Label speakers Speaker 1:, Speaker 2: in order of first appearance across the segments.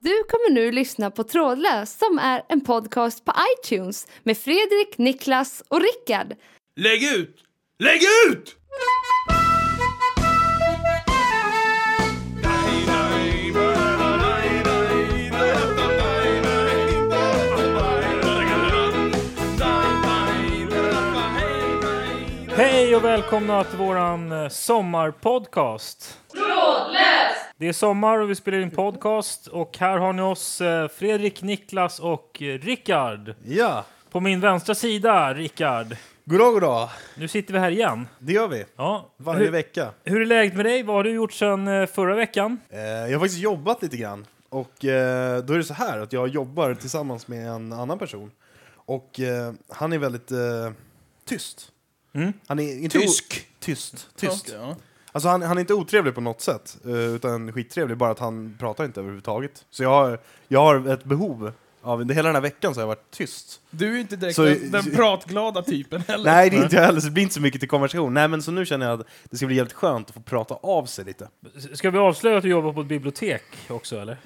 Speaker 1: Du kommer nu lyssna på Trådlös som är en podcast på iTunes med Fredrik, Niklas och Rickard.
Speaker 2: Lägg ut! Lägg ut!
Speaker 3: Hej och välkomna till våran eh, sommarpodcast. Det är sommar och vi spelar in podcast och här har ni oss eh, Fredrik, Niklas och eh, Rickard.
Speaker 4: Ja,
Speaker 3: På min vänstra sida, Rickard.
Speaker 4: goddag goddag.
Speaker 3: Nu sitter vi här igen.
Speaker 4: Det gör vi.
Speaker 3: Ja.
Speaker 4: Varje
Speaker 3: Hur,
Speaker 4: vecka.
Speaker 3: hur är läget med dig? Vad har du gjort sedan eh, förra veckan?
Speaker 4: Eh, jag har faktiskt jobbat lite grann. Och eh, då är det så här att jag jobbar tillsammans med en annan person. Och eh, han är väldigt eh, tyst.
Speaker 3: Mm.
Speaker 4: Han är inte o-
Speaker 2: Tysk.
Speaker 4: Tyst. Tyst. Alltså han, han är inte otrevlig på något sätt. eh, Utan skittrevlig, bara att han pratar inte överhuvudtaget. Så jag har, jag har ett behov av, hela den här veckan så har jag varit tyst.
Speaker 5: Du är inte direkt
Speaker 4: Så-
Speaker 5: den, den pratglada typen heller.
Speaker 4: Nej, det är inte jag heller, så det blir inte så mycket till konversation. Nej, men så nu känner jag att det ska bli jävligt skönt att få prata av sig lite.
Speaker 3: S- Ska vi avslöja att du jobbar på ett bibliotek också eller?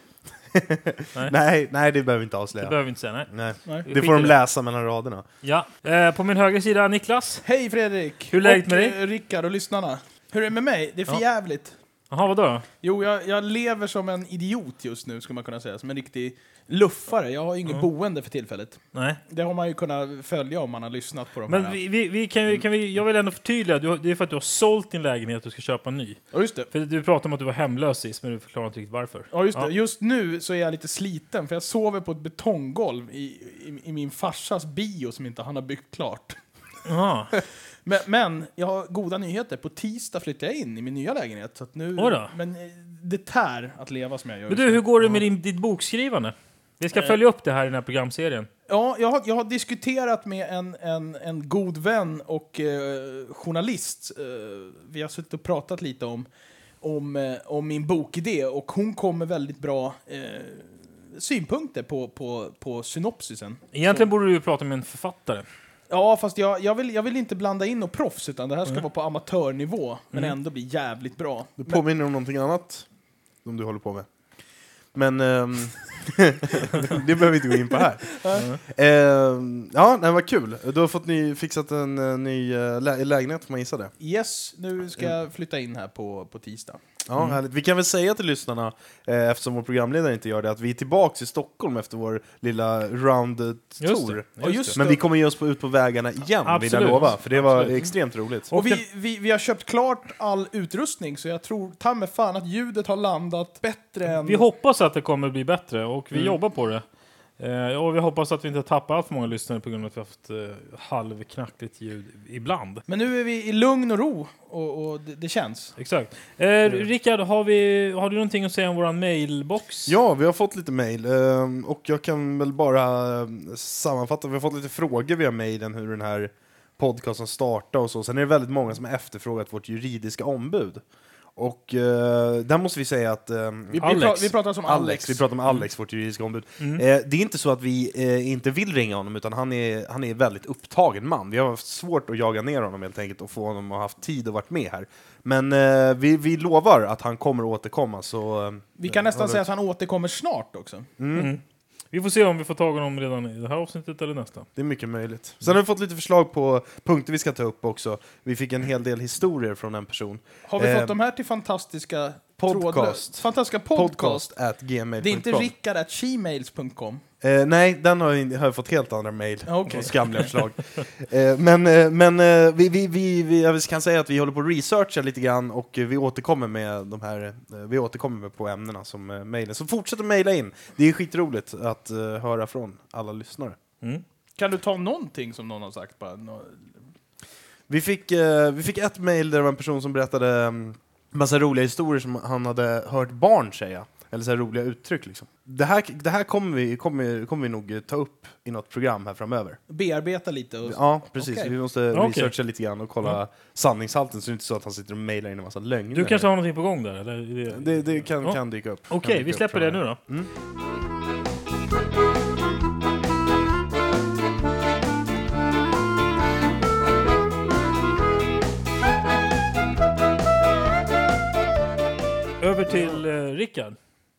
Speaker 4: Nej, nej, det behöver vi inte
Speaker 3: Det
Speaker 4: avslöja.
Speaker 3: behöver vi inte säga. Nej.
Speaker 4: Nej.
Speaker 5: Nej.
Speaker 3: Vi
Speaker 4: Det får
Speaker 3: skiter i
Speaker 4: de läsa mellan raderna.
Speaker 3: Ja. Eh, på min högra sida, Niklas.
Speaker 5: Hej Fredrik!
Speaker 3: Hur är läget med
Speaker 5: Och,
Speaker 3: dig?
Speaker 5: eh, Rickard och lyssnarna. Hur är det med mig? Det är för
Speaker 3: Ja.
Speaker 5: jävligt.
Speaker 3: Jaha, vadå?
Speaker 5: Jo, jag, jag lever som en idiot just nu, skulle man kunna säga. Som en riktig luffare. Jag har ju inget
Speaker 3: Ja.
Speaker 5: boende för tillfället.
Speaker 3: Nej.
Speaker 5: Det har man ju kunnat följa om man har lyssnat på de
Speaker 3: Men
Speaker 5: här.
Speaker 3: vi, vi, vi kan, vi- kan vi, jag vill ändå förtydliga, du, har- det är för att du har sålt din lägenhet och du ska köpa en ny.
Speaker 5: Ja, just det.
Speaker 3: För du pratade om att du var hemlös sist, men du förklarar inte riktigt varför.
Speaker 5: Ja, just det.
Speaker 3: Ja.
Speaker 5: Just nu så är jag lite sliten, för jag sover på ett betonggolv i, i, i min farsas bio som inte han har byggt klart.
Speaker 3: Jaha,
Speaker 5: Men, men jag har goda nyheter. På tisdag flyttar jag in i min nya lägenhet. Så att nu,
Speaker 3: Oj då.
Speaker 5: men eh, det tär att leva som jag gör.
Speaker 3: Men
Speaker 5: just
Speaker 3: du,
Speaker 5: nu.
Speaker 3: hur går det med din, ditt bokskrivande? Vi ska följa upp det här i den här programserien.
Speaker 5: Ja, jag har, jag har diskuterat med en, en, en god vän och eh, journalist. Eh, vi har suttit och pratat lite om, om, eh, om min bokidé och hon kom med väldigt bra eh, synpunkter på, på, på synopsisen.
Speaker 3: Egentligen borde du ju prata med en författare.
Speaker 5: Ja, fast jag, jag, vill, jag vill inte blanda in något proffs, utan det här ska vara på amatörnivå, men
Speaker 3: Mm.
Speaker 5: ändå bli jävligt bra.
Speaker 4: Det påminner om någonting annat som du håller på med. Men ehm, det behöver vi inte gå in på här. Ehm, ja, nej, vad kul. Då har fått ny, fixat en eh, ny eh, lä lägenhet, får man gissa det.
Speaker 5: Yes, nu ska jag flytta in här på, på tisdag.
Speaker 4: Ja, härligt. Vi kan väl säga till lyssnarna, eh, eftersom vår programledare inte gör det, att vi är tillbaka i Stockholm efter vår lilla
Speaker 3: Just det,
Speaker 4: round-tour.
Speaker 5: Ja, just
Speaker 4: Men
Speaker 5: det.
Speaker 4: vi kommer ge oss på, ut på vägarna igen, vill jag
Speaker 3: Absolut.
Speaker 4: lova. För det var
Speaker 3: Absolut.
Speaker 4: extremt roligt.
Speaker 5: Och vi, vi, vi har köpt klart all utrustning, så jag tror ta mig fan att ljudet har landat bättre än...
Speaker 3: Vi hoppas att det kommer bli bättre och vi jobbar på det. Eh, och vi hoppas att vi inte har tappat allt för många lyssnare på grund av att vi har haft eh, halvknackligt ljud ibland.
Speaker 5: Men nu är vi i lugn och ro, och, och det, det känns.
Speaker 3: Exakt. Eh, Rickard, har, vi, har du någonting att säga om våran mailbox?
Speaker 4: Ja, vi har fått lite mejl ehm, och jag kan väl bara ehm, sammanfatta. Vi har fått lite frågor via mejlen hur den här podcasten startade och så. Sen är det väldigt många som har efterfrågat vårt juridiska ombud. Och eh, där måste vi säga att ehm,
Speaker 5: Vi,
Speaker 3: Alex.
Speaker 5: Vi, pra, vi pratar som Alex.
Speaker 4: Alex, vi pratar om Alex, vårt juridiska ombud.
Speaker 3: Mm.
Speaker 4: Eh, det är inte så att vi eh, inte vill ringa honom, utan han är, han är en väldigt upptagen man. Vi har haft svårt att jaga ner honom helt enkelt och få honom att ha haft tid och varit med här. Men eh, vi, vi lovar att han kommer att återkomma. Så, eh,
Speaker 5: vi kan nästan
Speaker 4: har vi-
Speaker 5: säga att han återkommer snart också.
Speaker 3: Mm. Vi får se om vi får tag i honom redan i det här avsnittet eller nästa.
Speaker 4: Det är mycket
Speaker 5: Mm.
Speaker 4: möjligt. Sen har vi fått lite förslag på punkter vi ska ta upp också. Vi fick en hel del historier från en person.
Speaker 5: Har vi
Speaker 4: Eh,
Speaker 5: fått de här till fantastiska
Speaker 4: podcast.
Speaker 5: trådlös- Fantastiska podcast.
Speaker 4: Podcast at gmail.com.
Speaker 5: Det är inte rickard.gmail.com.
Speaker 4: Eh, nej, den har jag, har jag fått helt andra mejl.
Speaker 5: Ja, Ah, okej.
Speaker 4: och Skamliga förslag. eh, men eh, men eh, vi, vi, vi, vi, jag kan säga att vi håller på att researcha lite grann och eh, vi återkommer med de här, eh, vi återkommer med på ämnena som eh, mejlen. Så fortsätt att mejla in. Det är skitroligt att eh, höra från alla lyssnare.
Speaker 5: Kan du ta någonting som någon har sagt? Bara, nå-
Speaker 4: Vi fick, eh, vi fick ett mejl där det var en person som berättade um, massa roliga historier som han hade hört barn säga. Eller så här roliga uttryck liksom. Det här, det här kommer, vi, kommer, kommer vi nog eh, ta upp i något program här framöver.
Speaker 5: bearbeta lite. Och,
Speaker 4: Ja, precis.
Speaker 5: Okej.
Speaker 4: Vi måste
Speaker 3: okej.
Speaker 4: researcha lite grann och kolla sanningshalten så det är inte så att han sitter och mejlar in en massa lögner.
Speaker 3: Du kanske har någonting på gång där? Eller? är det-
Speaker 4: Det, det kan,
Speaker 3: Ja.
Speaker 4: kan dyka upp. Kan
Speaker 3: Okej,
Speaker 4: dyka
Speaker 3: vi Mm.
Speaker 4: upp
Speaker 3: släpper det
Speaker 4: framöver.
Speaker 3: nu då. Över till eh, Rickard.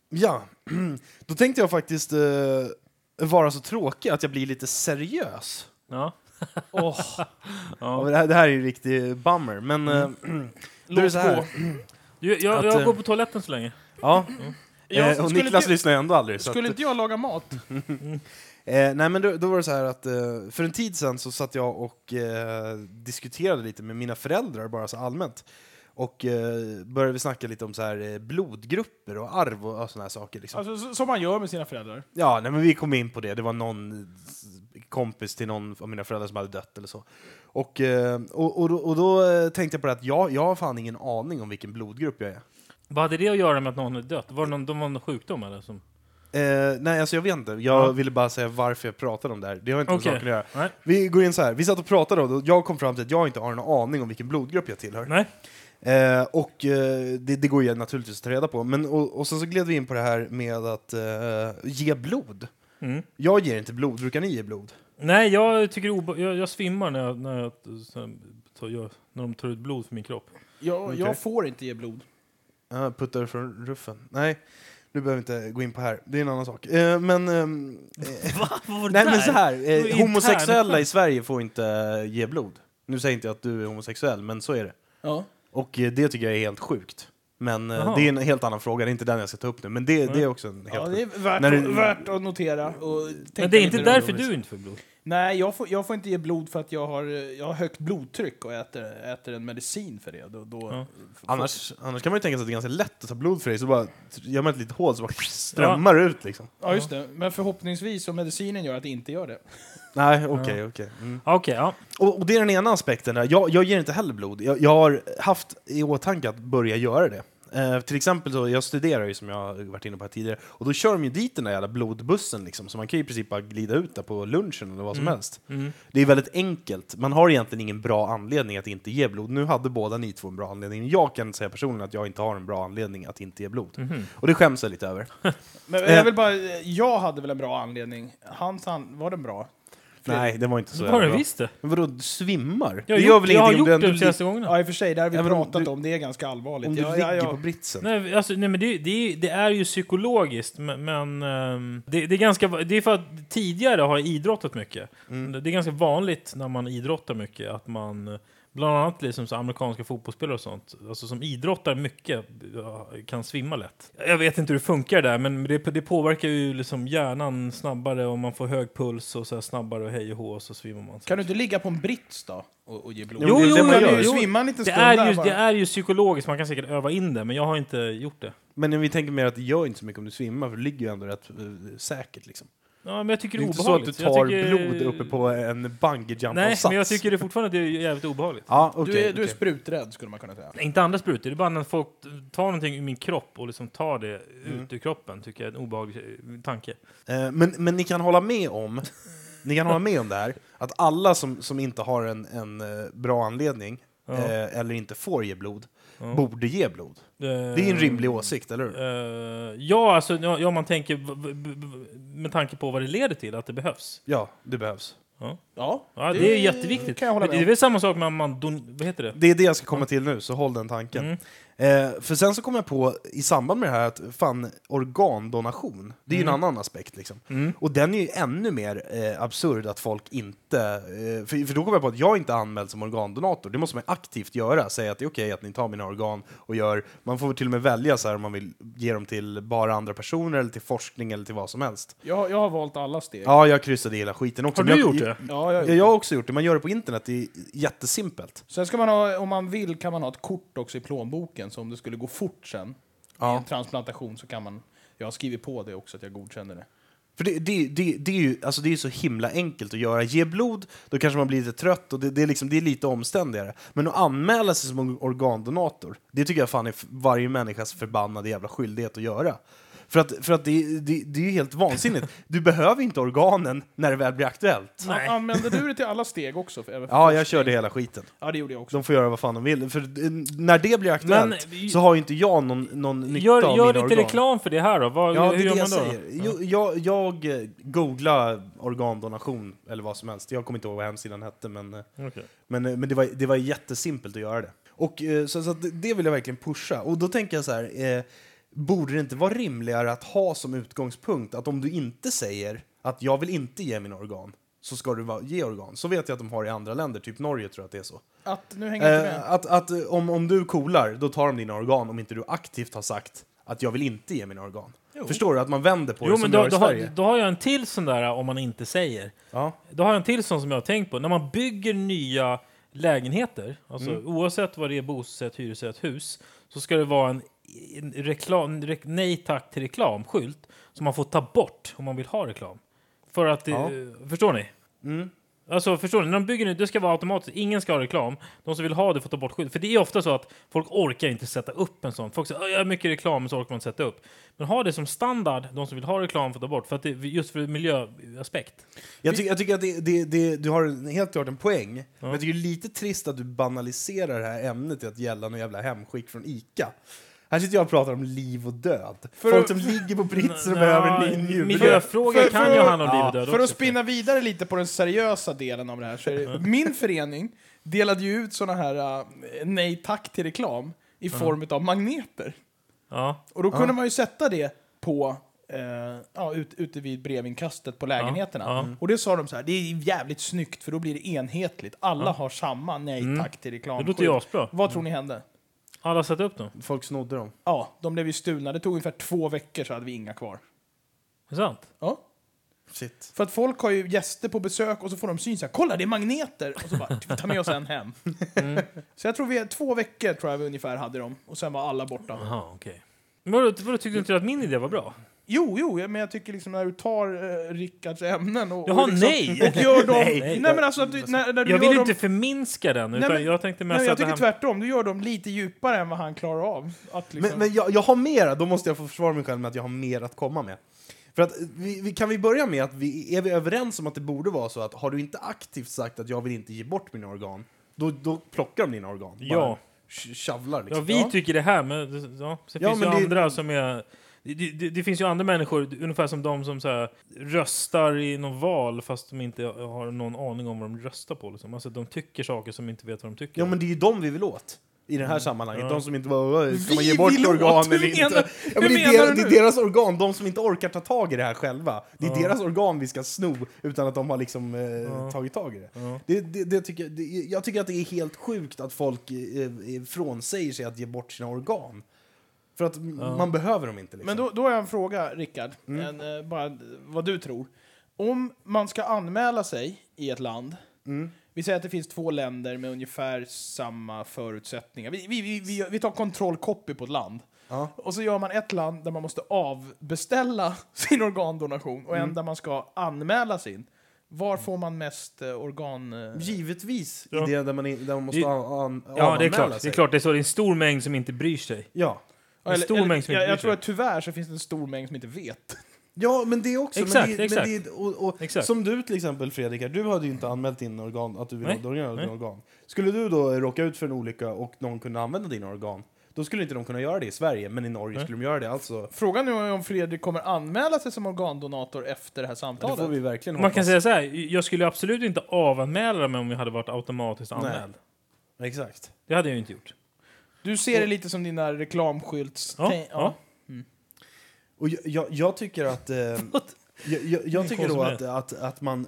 Speaker 4: Ja, då tänkte jag faktiskt eh, vara så tråkig att jag blir lite seriös.
Speaker 3: Ja.
Speaker 4: Ja, men Det, här, det här är ju en riktig bummer, men... Eh, då är det så här.
Speaker 3: Du, jag,
Speaker 4: Att,
Speaker 3: jag
Speaker 4: eh,
Speaker 3: går på toaletten så länge.
Speaker 4: Ja,
Speaker 5: Ja,
Speaker 4: eh, och
Speaker 5: skulle
Speaker 4: Niklas
Speaker 5: inte-
Speaker 4: lyssnar ju ändå aldrig. Så att,
Speaker 5: Skulle inte jag laga mat?
Speaker 4: eh, nej, men då, då var det så här att eh, för en tid sedan så satt jag och eh, diskuterade lite med mina föräldrar, bara så allmänt. Och eh, började vi snacka lite om så här, eh, blodgrupper och arv och, och såna här saker. Liksom.
Speaker 5: Alltså, s- som man gör med sina föräldrar.
Speaker 4: Ja, nej, men vi kom in på det. Det var någon eh, kompis till någon av mina föräldrar som hade dött eller så. Och, eh, och, och, då, och då eh, tänkte jag på det att jag, jag har fan ingen aning om vilken blodgrupp jag är.
Speaker 3: Vad hade det att göra med att någon är dött? Var det någon, de var någon sjukdom eller? Som...
Speaker 4: Eh, nej, alltså jag vet inte. Jag
Speaker 3: Ja.
Speaker 4: ville bara säga varför jag pratade om det här. Det har inte med
Speaker 3: Okej.
Speaker 4: saken att göra.
Speaker 3: Nej.
Speaker 4: Vi går in så här. Vi satt och pratade och jag kom fram till att jag inte har en aning om vilken blodgrupp jag tillhör.
Speaker 3: Nej.
Speaker 4: Eh, och eh, det, det går ju naturligtvis att ta reda på. Men, och, och sen så gled vi in på det här med att eh, ge blod.
Speaker 3: Mm.
Speaker 4: Jag ger inte blod. Brukar ni ge blod?
Speaker 3: Nej, jag tycker obe- jag, jag svimmar när, jag, när, jag, så här, tar, jag, när de tar ut blod från min kropp.
Speaker 5: Jag,
Speaker 4: Okej.
Speaker 5: jag får inte ge blod.
Speaker 4: Ja, puttar från ruffen. Nej, nu behöver vi inte gå in på här. Det är en annan sak. Eh, men... ehm, eh,
Speaker 3: Vad var
Speaker 4: nej, men så här.
Speaker 3: Det var
Speaker 4: Eh,
Speaker 3: intern.
Speaker 4: homosexuella i Sverige får inte eh, ge blod. Nu säger inte jag att du är homosexuell, men så är det.
Speaker 5: Ja.
Speaker 4: Och eh, det tycker jag är helt sjukt. Men eh,
Speaker 3: Jaha.
Speaker 4: det är en helt annan fråga, det är inte den jag ska ta upp nu. Men det, det är också en helt
Speaker 5: Ja, det är värt,
Speaker 4: När du-
Speaker 5: värt att notera. Och tänka
Speaker 3: Men det är
Speaker 5: lite
Speaker 3: inte
Speaker 5: runt.
Speaker 3: därför du inte får blod.
Speaker 5: Nej, jag får, jag får inte ge blod för att jag har, eh, jag har högt blodtryck och äter, äter en medicin för det. Då, då
Speaker 3: Ja.
Speaker 5: f-
Speaker 4: Annars, annars kan man ju tänka sig att det är ganska lätt att ta blod för dig, så bara gör man ett litet hål så bara strömmar det ut liksom.
Speaker 5: Ja, just det. Men förhoppningsvis, om medicinen gör att det inte gör det.
Speaker 4: Nej, okej, okej. Mm.
Speaker 3: Ah, Okej, ja.
Speaker 4: Och, och det är den ena aspekten. Där. Jag, jag ger inte heller blod. Jag, jag har haft i åtanke att börja göra det. Eh, till exempel, så, jag studerar ju som jag har varit inne på här tidigare, och då kör de ju dit den där jävla blodbussen liksom, så man kan ju i princip bara glida ut där på lunchen eller vad
Speaker 3: Mm.
Speaker 4: som helst. Det är väldigt enkelt. Man har egentligen ingen bra anledning att inte ge blod. Nu hade båda ni två en bra anledning. Jag kan säga personligen att jag inte har en bra anledning att inte ge blod.
Speaker 3: Mhm.
Speaker 4: Och det skäms jag lite över.
Speaker 5: Men
Speaker 4: Eh.
Speaker 5: jag vill bara, jag hade väl en bra anledning. Hans, han, var den bra?
Speaker 4: Nej, det var inte så
Speaker 3: Det var
Speaker 4: jävla
Speaker 3: det
Speaker 4: bra.
Speaker 3: visst det.
Speaker 4: Men vadå, du svimmar?
Speaker 3: Jag
Speaker 4: Det
Speaker 3: har
Speaker 4: gör
Speaker 3: gjort,
Speaker 4: väl
Speaker 3: jag har
Speaker 4: ingenting
Speaker 3: gjort
Speaker 4: om
Speaker 3: det
Speaker 4: du-
Speaker 3: de
Speaker 4: om du-
Speaker 3: senaste gångerna.
Speaker 5: Ja, i och för sig, det har vi
Speaker 4: Ja, men om
Speaker 5: pratat
Speaker 4: du-
Speaker 5: om. Det är ganska allvarligt.
Speaker 4: Om du
Speaker 5: ja, ja,
Speaker 4: ligger
Speaker 5: ja.
Speaker 4: på britsen?
Speaker 3: Nej, alltså, nej, men det, det, är- det är ju psykologiskt, men, men ehm, det, det, är ganska, va- det är för att tidigare har jag idrottat mycket.
Speaker 5: Mm.
Speaker 3: Det är ganska vanligt när man idrottar mycket att man, eh, bland annat liksom så amerikanska fotbollsspelare och sånt, alltså som idrottar mycket, ja, kan svimma lätt. Jag vet inte hur det funkar där, men det, det påverkar ju liksom hjärnan snabbare om man får hög puls och så här snabbare och hej och hå och så svimmar man.
Speaker 5: Kan du inte ligga på en brits då? Och, och ge blod?
Speaker 4: Jo, det är det man
Speaker 5: kan
Speaker 4: gör.
Speaker 5: ju svimma en liten
Speaker 3: det,
Speaker 5: stund
Speaker 3: är
Speaker 5: där
Speaker 3: ju,
Speaker 5: bara.
Speaker 3: det är ju psykologiskt, man kan säkert öva in det, men jag har inte gjort det.
Speaker 4: Men vi tänker mer att det gör inte så mycket om du svimmar, för du ligger ju ändå rätt eh, säkert. Liksom.
Speaker 3: Ja, men jag tycker
Speaker 4: Det
Speaker 3: det
Speaker 4: är
Speaker 3: är
Speaker 4: inte så att
Speaker 3: obehagligt.
Speaker 4: du
Speaker 3: Jag
Speaker 4: tar
Speaker 3: tycker-
Speaker 4: blod uppe på en bungyjump
Speaker 3: Nej, men jag tycker det fortfarande att det är jävligt obehagligt.
Speaker 4: Ja,
Speaker 5: du,
Speaker 4: okej.
Speaker 5: är, du är
Speaker 4: okej.
Speaker 5: spruträdd, skulle man kunna säga.
Speaker 3: Nej, Inte andra sprutor, det är bara när folk tar någonting ur min kropp och liksom tar det
Speaker 4: Mm.
Speaker 3: ut ur kroppen, tycker jag är en obehaglig eh, tanke.
Speaker 4: Eh, men, men ni kan hålla med om ni kan hålla med om det här, att alla som, som inte har en, en eh, bra anledning
Speaker 3: Ja.
Speaker 4: eh, eller inte får ge blod, borde ge blod.
Speaker 3: Det
Speaker 4: Det är en rimlig åsikt, eller hur?
Speaker 3: Eh, ja, alltså ja, ja, man tänker v- v- v- med tanke på vad det leder till, att det behövs.
Speaker 4: Ja, det behövs.
Speaker 5: Ja,
Speaker 3: Ja, det, är jätteviktigt.
Speaker 5: kan jag hålla
Speaker 3: Men det
Speaker 5: med
Speaker 3: är
Speaker 5: om.
Speaker 3: väl samma sak med om man don- vad heter det? Mm.
Speaker 4: Det är det jag ska komma till nu, så håll den tanken. Eh, för sen så kom jag på, i samband med det här, att fan, organdonation, det är ju en annan aspekt. Liksom. Och den är ju ännu mer eh, absurd att folk inte... Eh, för, för då kom jag på att jag inte är anmäld som organdonator. Det måste man ju aktivt göra, säga att det är okej att ni tar mina organ och gör... Man får väl till och med välja så här, om man vill ge dem till bara andra personer eller till forskning eller till vad som helst.
Speaker 5: Jag, jag har valt alla steg.
Speaker 4: Ja, jag kryssade i hela skiten också.
Speaker 3: Har
Speaker 4: men
Speaker 3: du
Speaker 4: jag,
Speaker 3: gjort det?
Speaker 5: Ja, jag,
Speaker 4: Ja, jag har också gjort det. Man gör det på internet, det är jättesimpelt.
Speaker 5: Sen ska man ha, om man vill, kan man ha ett kort också i plånboken, så om det skulle gå fort sen, i en transplantation, så kan man... Jag har skrivit på det också, att jag godkänner det.
Speaker 4: För det, det, det, det är ju alltså det är ju så himla enkelt att göra. Ge blod, då kanske man blir lite trött och det, det, är, liksom, det är lite omständigare. Men att anmäla sig som organdonator, det tycker jag fan är f- varje människas förbannade jävla skyldighet att göra. För att, för att det, det, det är ju helt vansinnigt. Du behöver inte organen när det väl blir aktuellt.
Speaker 3: Nej.
Speaker 5: Använder du det till alla steg också? För, även för
Speaker 4: Ja, jag
Speaker 5: forskning?
Speaker 4: körde hela skiten.
Speaker 5: Ja, det gjorde jag också.
Speaker 4: De får göra vad fan de vill. För eh, när det blir aktuellt
Speaker 3: Men-
Speaker 4: så har ju inte jag någon, någon nytta
Speaker 3: Gör,
Speaker 4: av
Speaker 3: gör
Speaker 4: mina
Speaker 3: lite
Speaker 4: organ.
Speaker 3: reklam för det här då? Vad,
Speaker 4: Ja, det
Speaker 3: hur
Speaker 4: är
Speaker 3: gör
Speaker 4: det
Speaker 3: man
Speaker 4: jag
Speaker 3: då?
Speaker 4: säger. Jo, jag, jag eh, googlar organdonation eller vad som helst. Jag kommer inte ihåg vad hemsidan hette, men, eh,
Speaker 3: Okej.
Speaker 4: men, eh, men det, var, det var jättesimpelt att göra det. Och, eh, så så att det- det vill jag verkligen pusha. Och då tänker jag så här, eh, borde det inte vara rimligare att ha som utgångspunkt att om du inte säger att jag vill inte ge mina organ så ska du va- ge organ. Så vet jag att de har i andra länder, typ Norge tror jag att det är så.
Speaker 5: Att, nu hänger jag inte med.
Speaker 4: Eh, att att eh, om, om du kolar, då tar de dina organ om inte du aktivt har sagt att jag vill inte ge mina organ. Förstår du? Att man vänder på
Speaker 3: Jo,
Speaker 4: det som
Speaker 3: men
Speaker 4: du
Speaker 3: då,
Speaker 4: gör i
Speaker 3: då, har,
Speaker 4: Sverige.
Speaker 3: då har jag en till sån där om man inte säger.
Speaker 4: Ja.
Speaker 3: Då har jag en till sån som jag har tänkt på. När man bygger nya lägenheter, alltså oavsett vad det är, bostadsrätt, hyresrätt, hus, så ska det vara en, en reklam, en rek, nej tack till reklamskylt som man får ta bort om man vill ha reklam. För att, det,
Speaker 4: Ja.
Speaker 3: eh, förstår ni? Alltså förstår ni, när de bygger nu, det ska vara automatiskt, ingen ska ha reklam. De som vill ha det får ta bort skylten. För det är ofta så att folk orkar inte sätta upp en sån. Folk säger "Åh, jag har mycket reklam, men så orkar man inte sätta upp. Men ha det som standard, de som vill ha reklam får ta bort, för att det, just för miljöaspekt.
Speaker 4: Jag, ty jag tycker att det, det, det, du har en- helt klart en poäng. Men jag tycker det är lite trist att du banaliserar det här ämnet till att gälla någon jävla hemskick från ICA. Här sitter jag och pratar om liv och död. Folk som ligger på britsen och behöver en ny njure.
Speaker 3: Miljöfrågor
Speaker 5: För- för-
Speaker 3: kan ju handla om liv och död
Speaker 5: För att
Speaker 3: också. typ.
Speaker 5: spinna vidare lite på den seriösa delen av det här så är det, min förening delade ju ut såna här eh, nej tack till reklam i form av magneter.
Speaker 3: Ja.
Speaker 5: Och då kunde man ju sätta det på eh, ja, ut, ute vid brevinkastet på lägenheterna.
Speaker 3: Ja, ja.
Speaker 5: Och det sa de så här, det är jävligt snyggt för då blir det enhetligt. Alla har samma nej
Speaker 3: Mm.
Speaker 5: tack till reklam.
Speaker 3: Det låter ju asbra.
Speaker 5: Vad tror ni hände?
Speaker 3: Alla sätter upp dem.
Speaker 4: Folk snodde dem.
Speaker 5: Ja, de blev ju stulna. Det tog ungefär två veckor så hade vi inga kvar.
Speaker 3: Det är sant.
Speaker 5: Ja.
Speaker 4: Shit.
Speaker 5: För att folk har ju gäster på besök och så får de syn så här, kolla det är magneter! Och så bara, "Vi tar med oss en hem.
Speaker 3: Mm.
Speaker 5: Så jag tror vi, två veckor tror jag vi ungefär hade dem, och sen var alla borta.
Speaker 3: Jaha, okej. Men Vadå, vadå, tyckte du inte att min idé var bra?
Speaker 5: Jo, jo, jag- men jag tycker liksom när du tar eh, Rickards ämnen och...
Speaker 3: Jaha,
Speaker 5: och liksom,
Speaker 3: nej!
Speaker 5: Och gör dem...
Speaker 3: Nej.
Speaker 5: nej, men alltså att du, när, när du
Speaker 3: Jag
Speaker 5: gör
Speaker 3: vill
Speaker 5: dem...
Speaker 3: inte förminska den, utan
Speaker 5: men-
Speaker 3: jag tänkte
Speaker 5: nej,
Speaker 3: mest
Speaker 5: men jag
Speaker 3: att det
Speaker 5: tycker
Speaker 3: här...
Speaker 5: tvärtom, du gör dem lite djupare än vad han klarar av. Att liksom,
Speaker 4: Men, men jag, jag har mera, då måste jag få försvara mig själv med att jag har mer att komma med. För att, eh, vi, vi, kan vi börja med att vi, är vi överens om att det borde vara så att har du inte aktivt sagt att jag vill inte ge bort mina organ, då, då plockar de dina organ. Bara
Speaker 3: Ja.
Speaker 4: sh- Shavlar
Speaker 3: Ja,
Speaker 4: liksom.
Speaker 3: vi tycker det här, men det- ja, sen
Speaker 4: Ja,
Speaker 3: finns
Speaker 4: men
Speaker 3: ju
Speaker 4: det-
Speaker 3: andra som är... Det, det, det finns ju andra människor, ungefär som de som så här, röstar i någon val fast de inte har någon aning om vad de röstar på. Liksom. Alltså, de tycker saker som inte vet vad de tycker.
Speaker 4: Ja, men det är ju dem vi vill åt. I det här sammanhanget.
Speaker 3: Ja.
Speaker 4: De som inte bara, ska man
Speaker 5: Mm. Vi
Speaker 4: ge bort
Speaker 5: vill åt?
Speaker 4: organ
Speaker 5: Hur
Speaker 4: eller
Speaker 5: menar-
Speaker 4: inte? Ja, men
Speaker 5: hur
Speaker 4: det,
Speaker 5: menar
Speaker 4: är
Speaker 5: du
Speaker 4: deras, det
Speaker 5: nu?
Speaker 4: är deras organ, de som inte orkar ta tag i det här själva. Det är deras organ vi ska sno utan att de har liksom, eh, tagit tag i det. Det, det, det tycker, jag- det. Jag tycker att det är helt sjukt att folk eh, eh, frånsäger sig att ge bort sina organ. För att m- man behöver dem inte. Liksom.
Speaker 5: Men då, då har jag en fråga, Rickard.
Speaker 3: Mm.
Speaker 5: En, eh, bara eh, vad du tror. Om man ska anmäla sig i ett land.
Speaker 4: Mm.
Speaker 5: Vi säger att det finns två länder med ungefär samma förutsättningar. Vi, vi, vi, vi, vi tar kontroll copy på ett land.
Speaker 4: Ja.
Speaker 5: Och så gör man ett land där man måste avbeställa sin organdonation och
Speaker 3: Mm.
Speaker 5: en där man ska anmäla sin. Var får man mest eh, organ... eh,
Speaker 4: Givetvis,
Speaker 3: Ja.
Speaker 4: i det där man, är- där man måste
Speaker 3: Det-
Speaker 4: an, an,
Speaker 3: ja, det är
Speaker 4: avanmäla
Speaker 3: klart. Det
Speaker 4: sig.
Speaker 3: är klart, det är så. Det är en stor mängd som inte bryr sig.
Speaker 4: Ja.
Speaker 3: En stor mängd som inte
Speaker 5: jag,
Speaker 3: bryr
Speaker 5: jag tror
Speaker 3: sig.
Speaker 5: att tyvärr så finns det en stor mängd som inte vet.
Speaker 4: Ja, men det också.
Speaker 3: Exakt,
Speaker 4: men det,
Speaker 3: exakt.
Speaker 4: Men det, och, och,
Speaker 3: Exakt.
Speaker 4: Som du till exempel Fredrik, här, du hade ju inte anmält din organ, att du ville
Speaker 3: Nej,
Speaker 4: ha donera
Speaker 3: nej.
Speaker 4: dina organ. Skulle du då råka ut för en olycka och någon kunde använda dina organ, då skulle inte de kunna göra det i Sverige, men i Norge skulle de göra det. Alltså,
Speaker 5: Frågan är om Fredrik kommer anmäla sig som organdonator efter det här
Speaker 4: det
Speaker 5: samtalet.
Speaker 4: får vi verkligen
Speaker 3: Man kan säga så här, jag skulle absolut inte avanmäla mig om jag hade varit automatiskt anmäld.
Speaker 4: Exakt.
Speaker 3: Det hade jag ju inte gjort.
Speaker 5: Du ser det lite som dina reklamskylts...
Speaker 3: Ja,
Speaker 5: tänk-
Speaker 3: ja.
Speaker 4: Och jag, jag, jag tycker att... Eh, jag jag, jag tycker då att, att, att man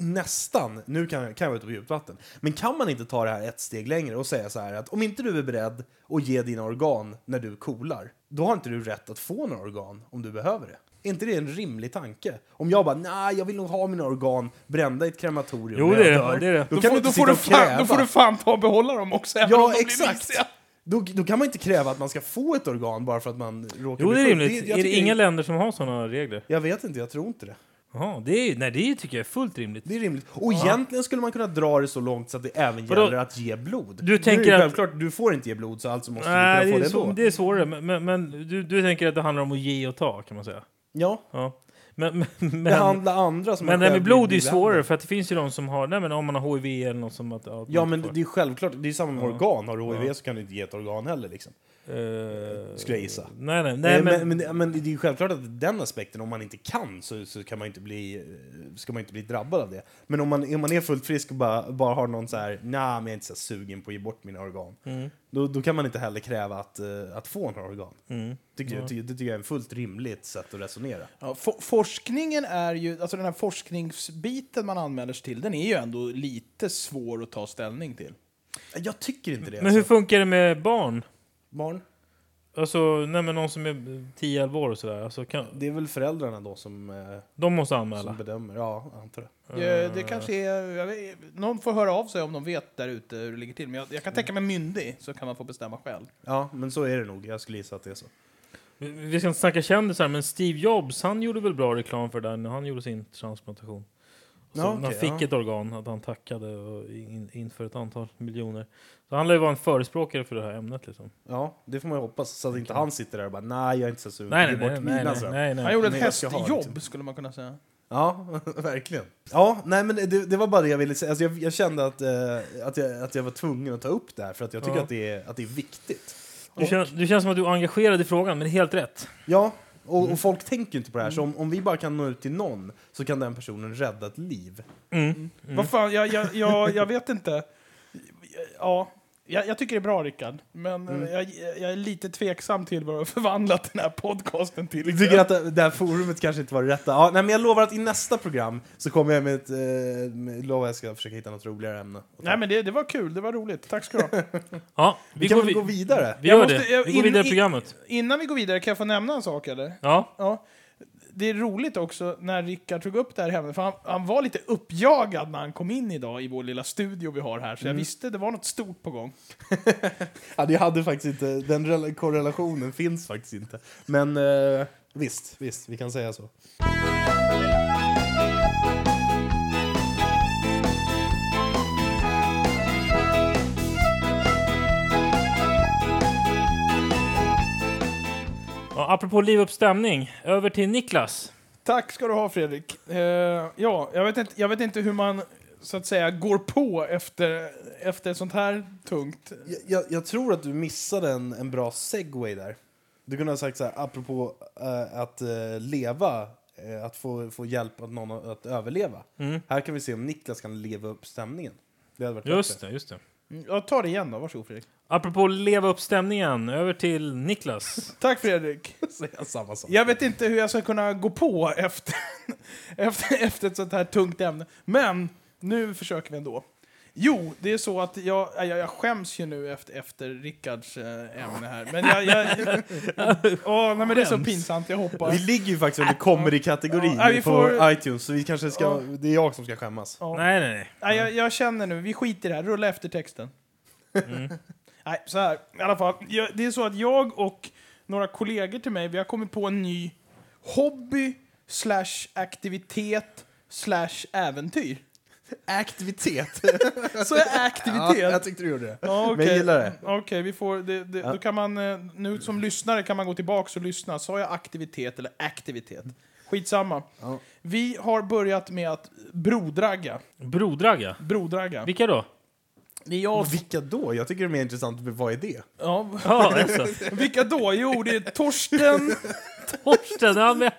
Speaker 4: nästan, nu kan, kan jag vara ute på djupt vatten, men kan man inte ta det här ett steg längre och säga så här att om inte du är beredd att ge dina organ när du kolar, då har inte du rätt att få några organ om du behöver det. Är inte det en rimlig tanke? Om jag bara, nej, jag vill nog ha mina organ brända i ett krematorium
Speaker 3: Jo,
Speaker 4: när
Speaker 3: det är det.
Speaker 4: jag dör."
Speaker 3: Det är det.
Speaker 4: Då,
Speaker 5: Då, får,
Speaker 4: kan du inte
Speaker 5: då,
Speaker 4: sitta
Speaker 5: får du
Speaker 4: och
Speaker 5: fan,
Speaker 4: kräva.
Speaker 5: då får du fan ta och behålla dem också, även om
Speaker 4: Ja,
Speaker 5: de blir
Speaker 4: exakt.
Speaker 5: vixiga.
Speaker 4: Då, då kan man inte kräva att man ska få ett organ bara för att man råkar
Speaker 3: Jo, det
Speaker 4: bli
Speaker 3: är
Speaker 4: sjuk.
Speaker 3: rimligt.
Speaker 4: jag
Speaker 3: är det
Speaker 4: tycker-
Speaker 3: inga länder som har sådana regler?
Speaker 4: Jag vet inte, jag tror inte det.
Speaker 3: Jaha, det är, nej, det tycker jag är fullt rimligt.
Speaker 4: Det är rimligt. Och egentligen skulle man kunna dra det så långt så att det även
Speaker 3: Vadå?
Speaker 4: gäller att ge blod.
Speaker 3: Du
Speaker 4: Nu är det
Speaker 3: tänker att-
Speaker 4: självklart, du får inte ge blod så alltså måste
Speaker 3: Nej,
Speaker 4: du
Speaker 3: det,
Speaker 4: kunna
Speaker 3: är
Speaker 4: få det
Speaker 3: så,
Speaker 4: ändå.
Speaker 3: det är svårare. Men, men, men du, du tänker att det handlar om att ge och ta, kan man säga?
Speaker 4: Ja,
Speaker 3: Ja. Men, men, men,
Speaker 4: behandla andra som
Speaker 3: men
Speaker 4: man
Speaker 3: det här
Speaker 4: själv
Speaker 3: med blod är ju
Speaker 4: blir
Speaker 3: svårare,
Speaker 4: behandlad.
Speaker 3: för att det finns ju de som har... Nej, men om man har HIV eller något som... Att, att man
Speaker 4: Ja,
Speaker 3: inte
Speaker 4: men
Speaker 3: får.
Speaker 4: det är självklart, det är samma med
Speaker 3: Ja.
Speaker 4: organ. Har du HIV
Speaker 3: Ja.
Speaker 4: så kan du inte ge ett organ heller liksom.
Speaker 3: eh,
Speaker 4: Skulle jag gissa.
Speaker 3: Nej, nej,
Speaker 4: Nej,
Speaker 3: nej
Speaker 4: Eh, men,
Speaker 3: men,
Speaker 4: men, men, det är ju självklart att den aspekten, om man inte kan så, så kan man ju inte bli, eh, ska man ju inte bli drabbad av det. Men om man, om man är fullt frisk och bara, bara har någon så här, nah, men jag är inte så här sugen på att ge bort mina organ.
Speaker 3: Mm.
Speaker 4: Då, då kan man inte heller kräva att, eh, att få några organ.
Speaker 3: Mm.
Speaker 4: Tycker jag, ty, det tycker jag är ett fullt rimligt sätt att resonera.
Speaker 5: Ja, for forskningen är ju, alltså den här forskningsbiten man anmäler sig till, den är ju ändå lite svår att ta ställning till.
Speaker 4: Jag tycker inte det. alltså.
Speaker 3: men hur funkar det med barn?
Speaker 4: barn?
Speaker 3: Alltså, nej, men någon som är 10-11 år och sådär. Alltså, kan,
Speaker 4: Det är väl föräldrarna då som, eh,
Speaker 3: de måste
Speaker 4: som
Speaker 3: anmäla.
Speaker 4: bedömer? Ja, jag antar det.
Speaker 5: Ja, det kanske är, jag vet, någon får höra av sig om de vet där ute hur det ligger till. Men jag, jag kan tänka mig myndig, så kan man få bestämma själv.
Speaker 4: Ja, men så är det nog. Jag skulle gissa att det är så.
Speaker 3: Vi- Vi ska inte snacka kändisar, men Steve Jobs han gjorde väl bra reklam för det där när han gjorde sin transplantation. Så
Speaker 4: Ja,
Speaker 3: när han
Speaker 4: okej,
Speaker 3: fick
Speaker 4: ja.
Speaker 3: ett organ, att han tackade och in, inför ett antal miljoner. Så han lär ju vara en förespråkare för det här ämnet. Liksom.
Speaker 4: Ja, det får man ju hoppas. Så att inte han sitter där och bara, nej, jag är inte så sugen.
Speaker 3: Nej, nej,
Speaker 4: Ge bort
Speaker 3: nej, nej,
Speaker 4: mina
Speaker 3: nej,
Speaker 4: sen."
Speaker 3: nej,
Speaker 5: Han
Speaker 3: nej.
Speaker 5: gjorde ett
Speaker 4: men jag ska ha liksom.
Speaker 5: hästjobb,
Speaker 4: lite.
Speaker 5: skulle man kunna säga.
Speaker 4: Ja, verkligen. Ja, nej men det, det var bara det jag ville säga. Alltså jag, jag kände att, eh, att, jag, att jag var tvungen att ta upp det här för att jag tycker
Speaker 3: Ja.
Speaker 4: att, det är, att det är viktigt.
Speaker 3: Du, känns, du känns som att du är engagerad i frågan, men det är helt rätt.
Speaker 4: Ja, och, och folk tänker ju inte på det här. Så om, om vi bara kan nå ut till någon så kan den personen rädda ett liv. Mm.
Speaker 5: Vad fan, jag, jag, jag, jag vet inte. Ja, jag, jag tycker det är bra, Rickard. Men eh,
Speaker 4: Mm.
Speaker 5: jag, jag är lite tveksam till vad du har förvandlat den här podcasten till.
Speaker 4: Jag tycker att det, det här forumet kanske inte var det rätta. Ja, nej, men jag lovar att i nästa program så kommer jag med ett... Eh, med, lovar jag ska försöka hitta något roligare ämne.
Speaker 5: Nej, men det, det var kul. Det var roligt. Tack ska du ha.
Speaker 3: Ja, vi,
Speaker 4: vi, kan
Speaker 3: går,
Speaker 4: väl
Speaker 3: vi,
Speaker 4: gå vidare?
Speaker 3: vi
Speaker 5: Jag
Speaker 3: gör
Speaker 5: måste-
Speaker 3: det.
Speaker 5: jag-
Speaker 3: Vi
Speaker 5: in-
Speaker 3: går vidare i
Speaker 5: in-
Speaker 3: programmet.
Speaker 5: Innan vi går vidare, kan jag få nämna en sak, eller?
Speaker 3: Ja.
Speaker 5: Ja. Det är roligt också när Rickard tog upp det här hemma, för han, han var lite uppjagad när han kom in idag i vår lilla studio vi har här, så
Speaker 4: Mm.
Speaker 5: jag visste det var något stort på gång.
Speaker 4: Ja, det hade faktiskt inte, den rela- korrelationen finns faktiskt inte. Men eh, visst, visst, vi kan säga så.
Speaker 3: Ja, apropå liv upp stämning, över till Niklas.
Speaker 5: Tack ska du ha Fredrik. Eh, ja, jag vet, inte, jag vet inte hur man så att säga går på efter, efter sånt här tungt.
Speaker 4: Jag, jag, jag tror att du missade en, en bra segway där. Du kunde ha sagt så här, apropå eh, att eh, leva, eh, att få, få hjälp av någon att överleva. Här kan vi se om Niklas kan leva upp stämningen. Det hade varit
Speaker 3: Just
Speaker 4: bättre.
Speaker 3: det, just det.
Speaker 5: Jag tar det igen då, varsågod Fredrik.
Speaker 3: Apropå leva upp stämningen, över till Niklas.
Speaker 5: Tack Fredrik.
Speaker 4: Säga samma sak.
Speaker 5: Jag vet inte hur jag ska kunna gå på efter, efter, efter ett sånt här tungt ämne. Men nu försöker vi ändå. Jo, det är så att jag, jag, jag skäms ju nu efter, efter Rickards eh, ämne här. Men jag, jag, Åh, nej, men det är så pinsamt, jag
Speaker 4: Vi
Speaker 5: hoppas.
Speaker 4: ligger ju faktiskt under comedy-kategorin
Speaker 5: Äh, Ja, vi får-
Speaker 4: på iTunes, så vi kanske ska,
Speaker 5: Ja.
Speaker 4: det är jag som ska skämmas.
Speaker 5: Ja.
Speaker 3: Nej, nej, nej.
Speaker 5: Nej, jag, jag känner nu, vi skiter i det här, rulla efter texten.
Speaker 4: Mm.
Speaker 5: Nej, så här, i alla fall. Jag, det är så att jag och några kollegor till mig, vi har kommit på en ny hobby slash aktivitet slash äventyr.
Speaker 4: Aktivitet!
Speaker 5: Så är
Speaker 4: ja,
Speaker 5: aktivitet.
Speaker 4: jag tyckte du gjorde det.
Speaker 5: Ja,
Speaker 4: Men jag
Speaker 5: okej.
Speaker 4: gillar det.
Speaker 5: Okej, vi får... Det, det, Då kan man... eh, Nu som lyssnare kan man gå tillbaka och lyssna. Sa jag aktivitet eller aktivitet? Skitsamma.
Speaker 4: Ja.
Speaker 5: Vi har börjat med att brodragga.
Speaker 3: Brodragga.
Speaker 5: Brodragga.
Speaker 3: Vilka då?
Speaker 5: Det är jag och...
Speaker 4: Vilka då? Jag tycker det är mer intressant vad är det?
Speaker 5: Ja,
Speaker 3: Ja, alltså.
Speaker 5: vilka då? Jo, det är Torsten...
Speaker 3: Torsten, ja, men...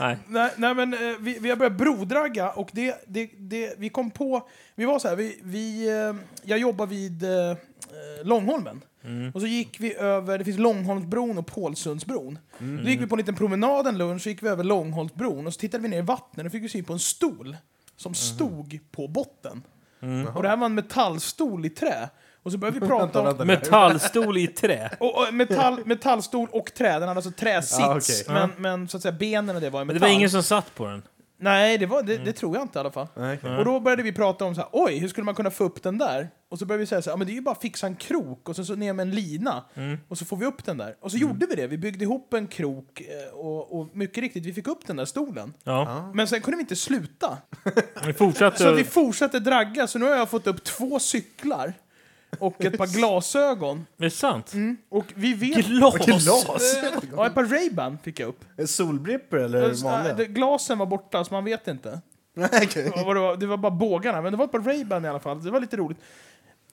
Speaker 3: Nej.
Speaker 5: nej, nej, men eh, vi, vi har börjat brodragga och det, det, det... Vi kom på... Vi var så här, vi... vi eh, jag jobbar vid eh, eh, Långholmen. Och så gick vi över, det finns Långholmsbron och Pålsundsbron. Då gick vi på en liten promenad en lunch, så gick vi över Långholmsbron och så tittade vi ner i vattnet och fick vi syn på en stol som stod på botten. Och det här var en metallstol i trä. Och så började vi prata om...
Speaker 3: Metallstol i trä.
Speaker 5: Och, och metall, metallstol och trä, den hade alltså träsits.
Speaker 4: Ah, okej.
Speaker 5: men, men så att säga benen och det var i
Speaker 3: Men
Speaker 5: metall.
Speaker 3: det var ingen som satt på den.
Speaker 5: Nej, det, var, det, det tror jag inte i alla fall.
Speaker 4: Nej, okej.
Speaker 5: Och då började vi prata om så här, oj, hur skulle man kunna få upp den där? Och så började vi säga så här, ja, men det är ju bara att fixa en krok och sen så ner med en lina. Och så får vi upp den där. Och så gjorde vi det, vi byggde ihop en krok eh, och, och mycket riktigt, vi fick upp den där stolen.
Speaker 3: Ja. Alltså,
Speaker 5: Men sen kunde vi inte sluta.
Speaker 3: Vi
Speaker 5: Så vi
Speaker 3: fortsatte...
Speaker 5: fortsatte dragga, så nu har jag fått upp två cyklar och ett par glasögon.
Speaker 3: Är det sant?
Speaker 5: Och vi vet...
Speaker 3: Glas!
Speaker 4: Glas!
Speaker 5: Ja, ett par Ray-Ban fick jag upp.
Speaker 4: Solbrippor eller
Speaker 5: Alltså, Nej, det-
Speaker 4: vanliga?
Speaker 5: Glasen var borta, så man vet inte.
Speaker 4: Nej, okej.
Speaker 5: Vad det, var, det var bara bågarna, men det var ett par Ray-Ban i alla fall. Det var lite roligt.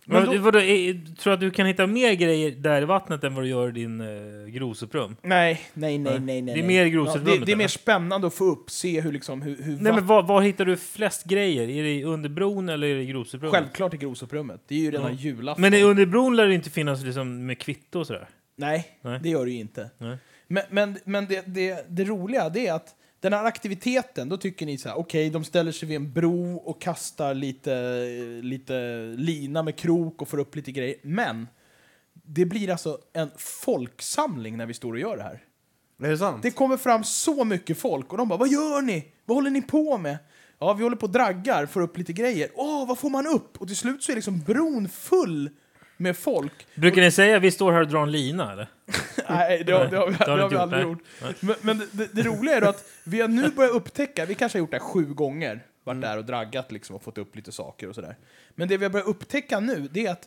Speaker 3: Men då... vadå, är- tror du att du kan hitta mer grejer där i vattnet än vad du gör i din eh, grusuppröm?
Speaker 5: Nej, nej, nej, nej. nej
Speaker 3: Det är
Speaker 5: nej.
Speaker 3: mer grus i
Speaker 5: det,
Speaker 3: rummet,
Speaker 5: det är mer
Speaker 3: eller?
Speaker 5: spännande att få upp, se hur liksom, hur, hur
Speaker 3: Nej,
Speaker 5: vatt-
Speaker 3: men var, var hittar du flest grejer? Är det under bron eller är det i grusupprömmet?
Speaker 5: Självklart i grosuprummet. Det är ju redan
Speaker 3: Ja.
Speaker 5: julafton.
Speaker 3: Men i- under bron lär det inte finnas liksom, med kvitto och sådär?
Speaker 5: Nej,
Speaker 3: Nej.
Speaker 5: det gör det ju inte.
Speaker 3: Nej.
Speaker 5: Men, men, men det, det, det roliga det är att den här aktiviteten, då tycker ni så här, okej, de ställer sig vid en bro och kastar lite, lite lina med krok och får upp lite grejer. Men det blir alltså en folksamling när vi står och gör det här.
Speaker 4: Är det sant?
Speaker 5: Det kommer fram så mycket folk och de bara, vad gör ni? Vad håller ni på med? Ja, vi håller på och draggar, får upp lite grejer. Åh, vad får man upp? Och till slut så är liksom bron full med folk.
Speaker 3: Brukar ni säga vi står här och drar en lina eller?
Speaker 5: Nej, det har, det har, vi, det har,
Speaker 3: har du
Speaker 5: vi
Speaker 3: inte
Speaker 5: aldrig
Speaker 3: gjort,
Speaker 5: gjort. Men, men det- det, det roliga är då att vi har nu börjat upptäcka, vi kanske har gjort det här sju gånger, varit där och draggat liksom och fått upp lite saker och sådär. Men det vi har börjat upptäcka nu, det är att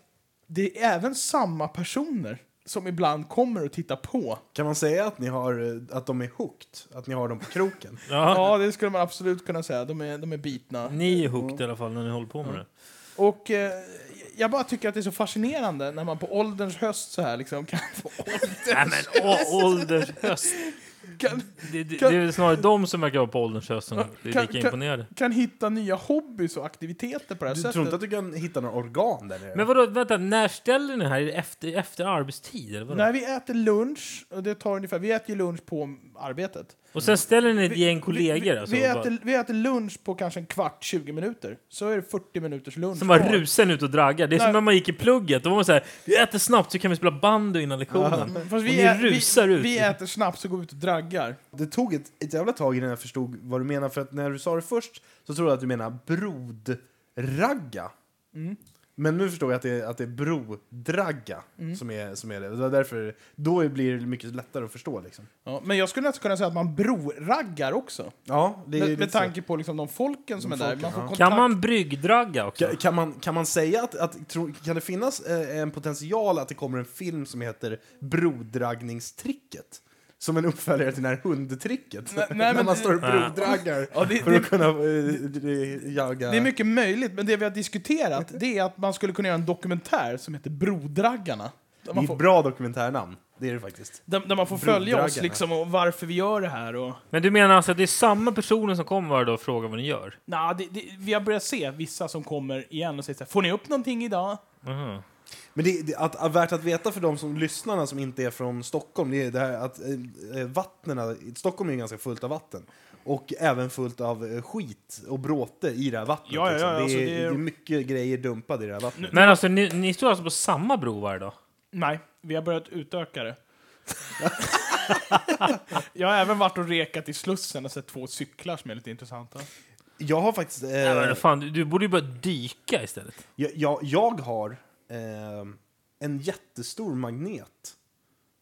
Speaker 5: det är även samma personer som ibland kommer och tittar på.
Speaker 4: Kan man säga att, ni har, eh, att de är hooked? Att ni har dem på kroken?
Speaker 3: Ja.
Speaker 5: Ja, det skulle man absolut kunna säga. De är, de är bitna.
Speaker 3: Ni är hooked i alla fall när ni håller på med det.
Speaker 5: Och eh, jag bara tycker att det är så fascinerande när man på ålderns höst så här liksom kan få...
Speaker 3: Nej men å- ålderns höst.
Speaker 5: Kan,
Speaker 3: Det, det, det
Speaker 5: Kan-
Speaker 3: är väl snarare de som verkar vara på ålderns höst som är
Speaker 5: Kan-
Speaker 3: lika
Speaker 5: kan-
Speaker 3: imponerade.
Speaker 5: kan hitta nya hobbys och aktiviteter på det här
Speaker 4: Du
Speaker 5: sättet.
Speaker 4: tror inte att du kan hitta några organ där nere?
Speaker 3: Men vadå, vänta, när ställer ni här? Är det efter, efter arbetstid eller vadå?
Speaker 5: När vi äter lunch, och det tar ungefär, vi äter ju lunch på arbetet.
Speaker 3: Och sen ställer ni ett
Speaker 5: Vi-
Speaker 3: gäng
Speaker 5: vi,
Speaker 3: kollegor
Speaker 5: vi,
Speaker 3: alltså,
Speaker 5: vi,
Speaker 3: och bara,
Speaker 5: äter, vi äter lunch på kanske en kvart, 20 minuter. Så är det 40 minuters lunch
Speaker 3: som bara
Speaker 5: kvar.
Speaker 3: rusar ut och draggar. Det är
Speaker 5: Nej.
Speaker 3: som när man gick i plugget. Då var man så här, vi äter snabbt så kan vi spela bandy innan lektionen.
Speaker 5: Men
Speaker 3: Och
Speaker 5: Fast vi,
Speaker 3: ni
Speaker 5: ä-
Speaker 3: rusar
Speaker 5: vi,
Speaker 3: ut.
Speaker 5: vi äter snabbt och går ut och draggar.
Speaker 4: Det tog ett, ett jävla tag innan jag förstod vad du menar. För att när du sa det först så trodde jag att du menar brodragga.
Speaker 5: Mm.
Speaker 4: Men nu förstår jag att det är, att det är brodragga som, är, som är det. Det var därför, då blir det mycket lättare att förstå. Liksom.
Speaker 5: Ja, men jag skulle nästan kunna säga att man broraggar också.
Speaker 4: Ja, det är
Speaker 5: Med,
Speaker 4: lite
Speaker 5: med tanke på liksom de folken som
Speaker 4: De
Speaker 5: är där.
Speaker 4: folken,
Speaker 5: Man får
Speaker 4: ja.
Speaker 5: kontakt.
Speaker 3: Kan man bryggdragga också?
Speaker 4: Ka- Kan man, kan man säga att, att tro, kan det finnas eh, en potential att det kommer en film som heter Brodraggningstricket? Som en uppföljare till det här hundtricket?
Speaker 5: Nej, nej,
Speaker 4: när
Speaker 5: men
Speaker 4: man
Speaker 5: det-
Speaker 4: står och brodraggar
Speaker 5: Ja, det,
Speaker 4: för
Speaker 5: det,
Speaker 4: att kunna eh, jaga...
Speaker 5: det är mycket möjligt, men det vi har diskuterat det är att man skulle kunna göra en dokumentär som heter Brodraggarna. Där
Speaker 4: det är
Speaker 5: man
Speaker 4: ett
Speaker 5: får,
Speaker 4: bra dokumentärnamn. Det är det faktiskt.
Speaker 5: där, där man får följa oss
Speaker 4: Brodraggarna.
Speaker 5: liksom och varför vi gör det här. Och,
Speaker 3: Men du menar alltså att det är samma personer som kommer varje dag och frågar vad ni gör?
Speaker 5: nah, det, det, vi har börjat se vissa som kommer igen och säger så här, får ni upp någonting idag?
Speaker 3: Aha.
Speaker 4: Men det, det, att, att, värt att veta för de som lyssnarna som inte är från Stockholm, det är det här att eh, vattnen, Stockholm är ju ganska fullt av vatten. Och även fullt av eh, skit och bråte i det här vattnet.
Speaker 5: Ja, ja, ja, alltså,
Speaker 4: liksom. det, är,
Speaker 5: det
Speaker 4: det,
Speaker 5: är-
Speaker 4: är... mycket grejer dumpade i det här vattnet.
Speaker 3: Men alltså, ni, ni står alltså på samma bro varje dag?
Speaker 5: Nej, vi har börjat utöka det. jag har även varit och rekat i Slussen och sett två cyklar som är lite intressanta.
Speaker 4: Jag har faktiskt... Eh,
Speaker 3: Nej, men fan, du, du borde ju börja dyka istället.
Speaker 4: jag, jag, jag har eh, en jättestor magnet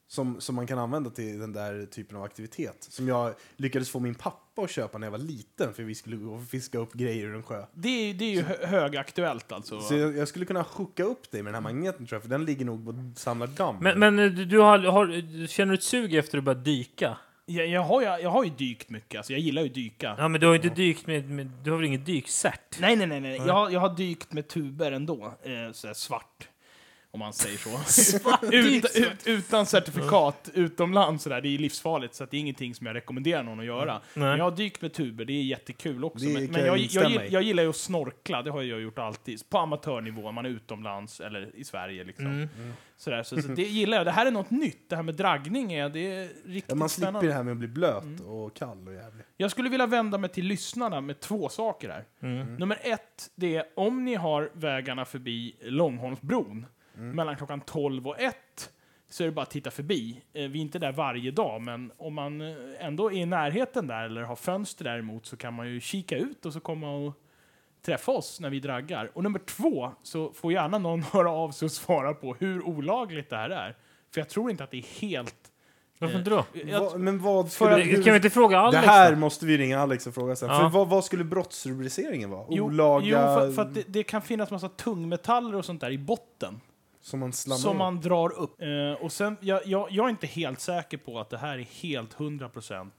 Speaker 4: som, som man kan använda till den där typen av aktivitet. Som jag lyckades få min pappa att köpa när jag var liten för vi skulle gå och fiska upp grejer ur en sjö.
Speaker 5: Det är, det är ju hö- högaktuellt alltså.
Speaker 4: Så jag, jag skulle kunna hooka upp dig med den här magneten tror jag, för den ligger nog och samlar damm.
Speaker 3: Men, men eh, du, du har, har, känner du ett sug efter att börja dyka?
Speaker 5: Jag, jag, har, jag, jag har ju dykt mycket, alltså jag gillar ju att dyka.
Speaker 3: Ja, men du har ju inte dykt med, med du har väl inget dykcert?
Speaker 5: Nej, nej, nej, nej. Jag, har- jag har dykt med tuber ändå. Eh, sådär svart. Om man säger så. ut, ut, utan certifikat utomlands sådär. Det är ju livsfarligt så att det är ingenting som jag rekommenderar någon att göra. Men Jag har dykt med tuber, det är jättekul också.
Speaker 4: Det
Speaker 5: men
Speaker 4: kan
Speaker 5: men
Speaker 4: jag
Speaker 5: jag, jag,
Speaker 4: instämma
Speaker 5: gill-
Speaker 4: i.
Speaker 5: jag gillar ju att snorkla, det har jag gjort alltid. På amatörnivå, man är utomlands eller i Sverige liksom.
Speaker 3: Mm.
Speaker 4: Mm.
Speaker 5: Sådär, så, så det gillar jag. Det här är något nytt, det här med draggning är, det är
Speaker 4: Ja,
Speaker 5: riktigt
Speaker 4: man slipper
Speaker 5: spännande. Mm.
Speaker 4: det här med att bli blöt och kall och jävlig.
Speaker 5: Jag skulle vilja vända mig till lyssnarna med två saker här. Nummer ett, det är om ni har vägarna förbi Långholmsbron mellan klockan 12 och 1 så är det bara att titta förbi. Eh, Vi är inte där varje dag, men om man eh, ändå är i närheten där eller har fönster däremot så kan man ju kika ut och så komma och träffa oss när vi draggar. Och nummer två, så får gärna någon höra av sig och svara på hur olagligt det här är. För jag tror inte att det är helt...
Speaker 3: Varför inte då?
Speaker 5: Jag,
Speaker 4: Va, men vad
Speaker 3: För
Speaker 4: skulle...
Speaker 3: kan vi inte fråga
Speaker 4: det
Speaker 3: Alex?
Speaker 4: här
Speaker 3: då?
Speaker 4: måste vi ringa Alex och fråga sen.
Speaker 3: Ja.
Speaker 4: För vad, vad skulle brottsrubriceringen vara?
Speaker 5: Jo,
Speaker 4: Olaga...
Speaker 5: Jo, för, för att det, det kan finnas massa tungmetaller och sånt där i botten
Speaker 4: Som man slammar
Speaker 5: som
Speaker 4: in.
Speaker 5: man drar upp. Eh, och sen, jag, jag, jag är inte helt säker på att det här är helt 100%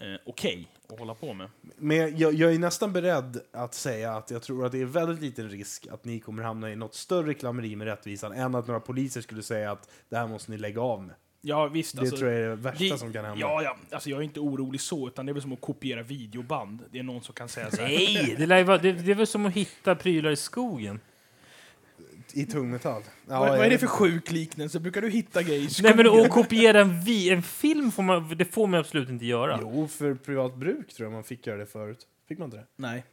Speaker 5: eh, okej. att hålla på med.
Speaker 4: Men jag, jag är nästan beredd att säga att jag tror att det är väldigt liten risk att ni kommer hamna i något större klammeri med rättvisan än att några poliser skulle säga att det här måste ni lägga av med.
Speaker 5: Ja, visst.
Speaker 4: Det
Speaker 5: alltså,
Speaker 4: tror jag är det värsta
Speaker 5: det-
Speaker 4: som kan hända.
Speaker 5: Ja, ja. Alltså, jag är inte orolig så, utan det är väl som att kopiera videoband. Det är någon som kan säga så här.
Speaker 3: Nej, det, lär ju vara- det, det är väl som att hitta prylar i skogen.
Speaker 4: I tungmetall. Ja,
Speaker 5: vad, vad är
Speaker 4: jag-
Speaker 5: det för sjuk liknelse? Brukar du hitta grejer i
Speaker 3: Nej,
Speaker 5: skogen?
Speaker 3: men att kopiera en, vi, en film får man, det får man absolut inte göra.
Speaker 4: Jo, för privat bruk tror jag man fick göra det förut. Fick man inte det?
Speaker 5: Nej.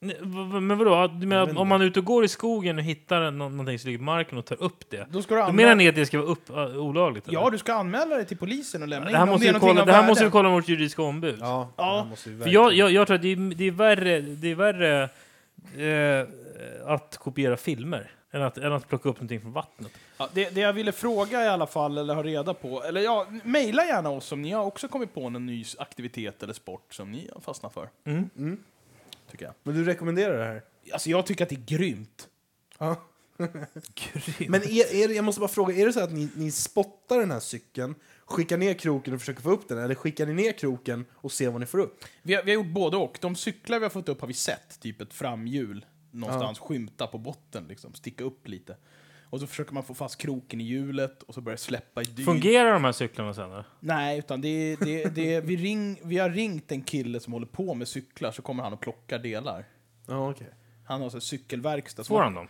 Speaker 3: Nej, v- v- Men vadå? Du menar att
Speaker 4: Jag vet
Speaker 3: om
Speaker 4: inte.
Speaker 3: man är ute och går i skogen och hittar nå- någonting som ligger på marken och tar upp det?
Speaker 5: Då ska du
Speaker 3: Då
Speaker 5: anmäla...
Speaker 3: menar ni att det ska vara upp, äh, olagligt? eller?
Speaker 5: Ja, du ska anmäla det till polisen och lämna in
Speaker 3: det här,
Speaker 5: om
Speaker 3: måste
Speaker 5: är
Speaker 3: vi,
Speaker 5: någonting
Speaker 3: kolla,
Speaker 5: av
Speaker 3: det här
Speaker 5: värde.
Speaker 3: måste vi kolla med vårt juridiska ombud.
Speaker 4: Ja.
Speaker 5: Ja.
Speaker 4: det måste vi
Speaker 3: För jag,
Speaker 4: verkligen-
Speaker 3: jag, jag tror att det är, det är värre, det är värre eh, att kopiera filmer än att, än att plocka upp någonting från vattnet.
Speaker 5: Ja, det, det jag ville fråga i alla fall, eller ha reda på, eller ja, mejla gärna oss om ni har också kommit på någon ny aktivitet eller sport som ni har fastnat för.
Speaker 3: Mm.
Speaker 4: Mm.
Speaker 5: Tycker jag.
Speaker 4: Men du rekommenderar det här?
Speaker 5: Alltså jag tycker att det är grymt.
Speaker 4: Ja. Men är, är, det- jag måste bara fråga, är det så att ni, ni spottar den här cykeln, skickar ner kroken och försöker få upp den? Eller skickar ni ner kroken och ser vad ni får upp?
Speaker 5: Vi har, vi har gjort både och. De cyklar vi har fått upp har vi sett, typ ett framhjul någonstans skymta på botten, liksom, sticka upp lite. Och så försöker man få fast kroken i hjulet och så börjar det släppa i dyr.
Speaker 3: Fungerar de här cyklarna sen? Eller?
Speaker 5: Nej, utan det, det, det, vi, ring, vi har ringt en kille som håller på med cyklar så kommer han och plockar delar.
Speaker 4: Ja, okej.
Speaker 5: Han har så här cykelverkstad. som-
Speaker 3: Får han dem?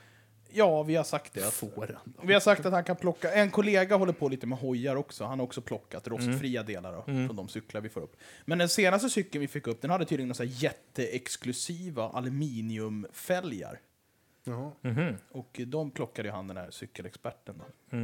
Speaker 5: Ja, vi har sagt det. Att,
Speaker 4: Får han då?
Speaker 5: vi har sagt att han kan plocka. En kollega håller på lite med hojar också. Han har också plockat rostfria
Speaker 3: Mm.
Speaker 5: delar då, från de cyklar vi får upp. Men den senaste cykeln vi fick upp, den hade tydligen några jätteexklusiva aluminiumfälgar.
Speaker 4: Jaha.
Speaker 5: Och de plockade ju han den här cykelexperten. Då.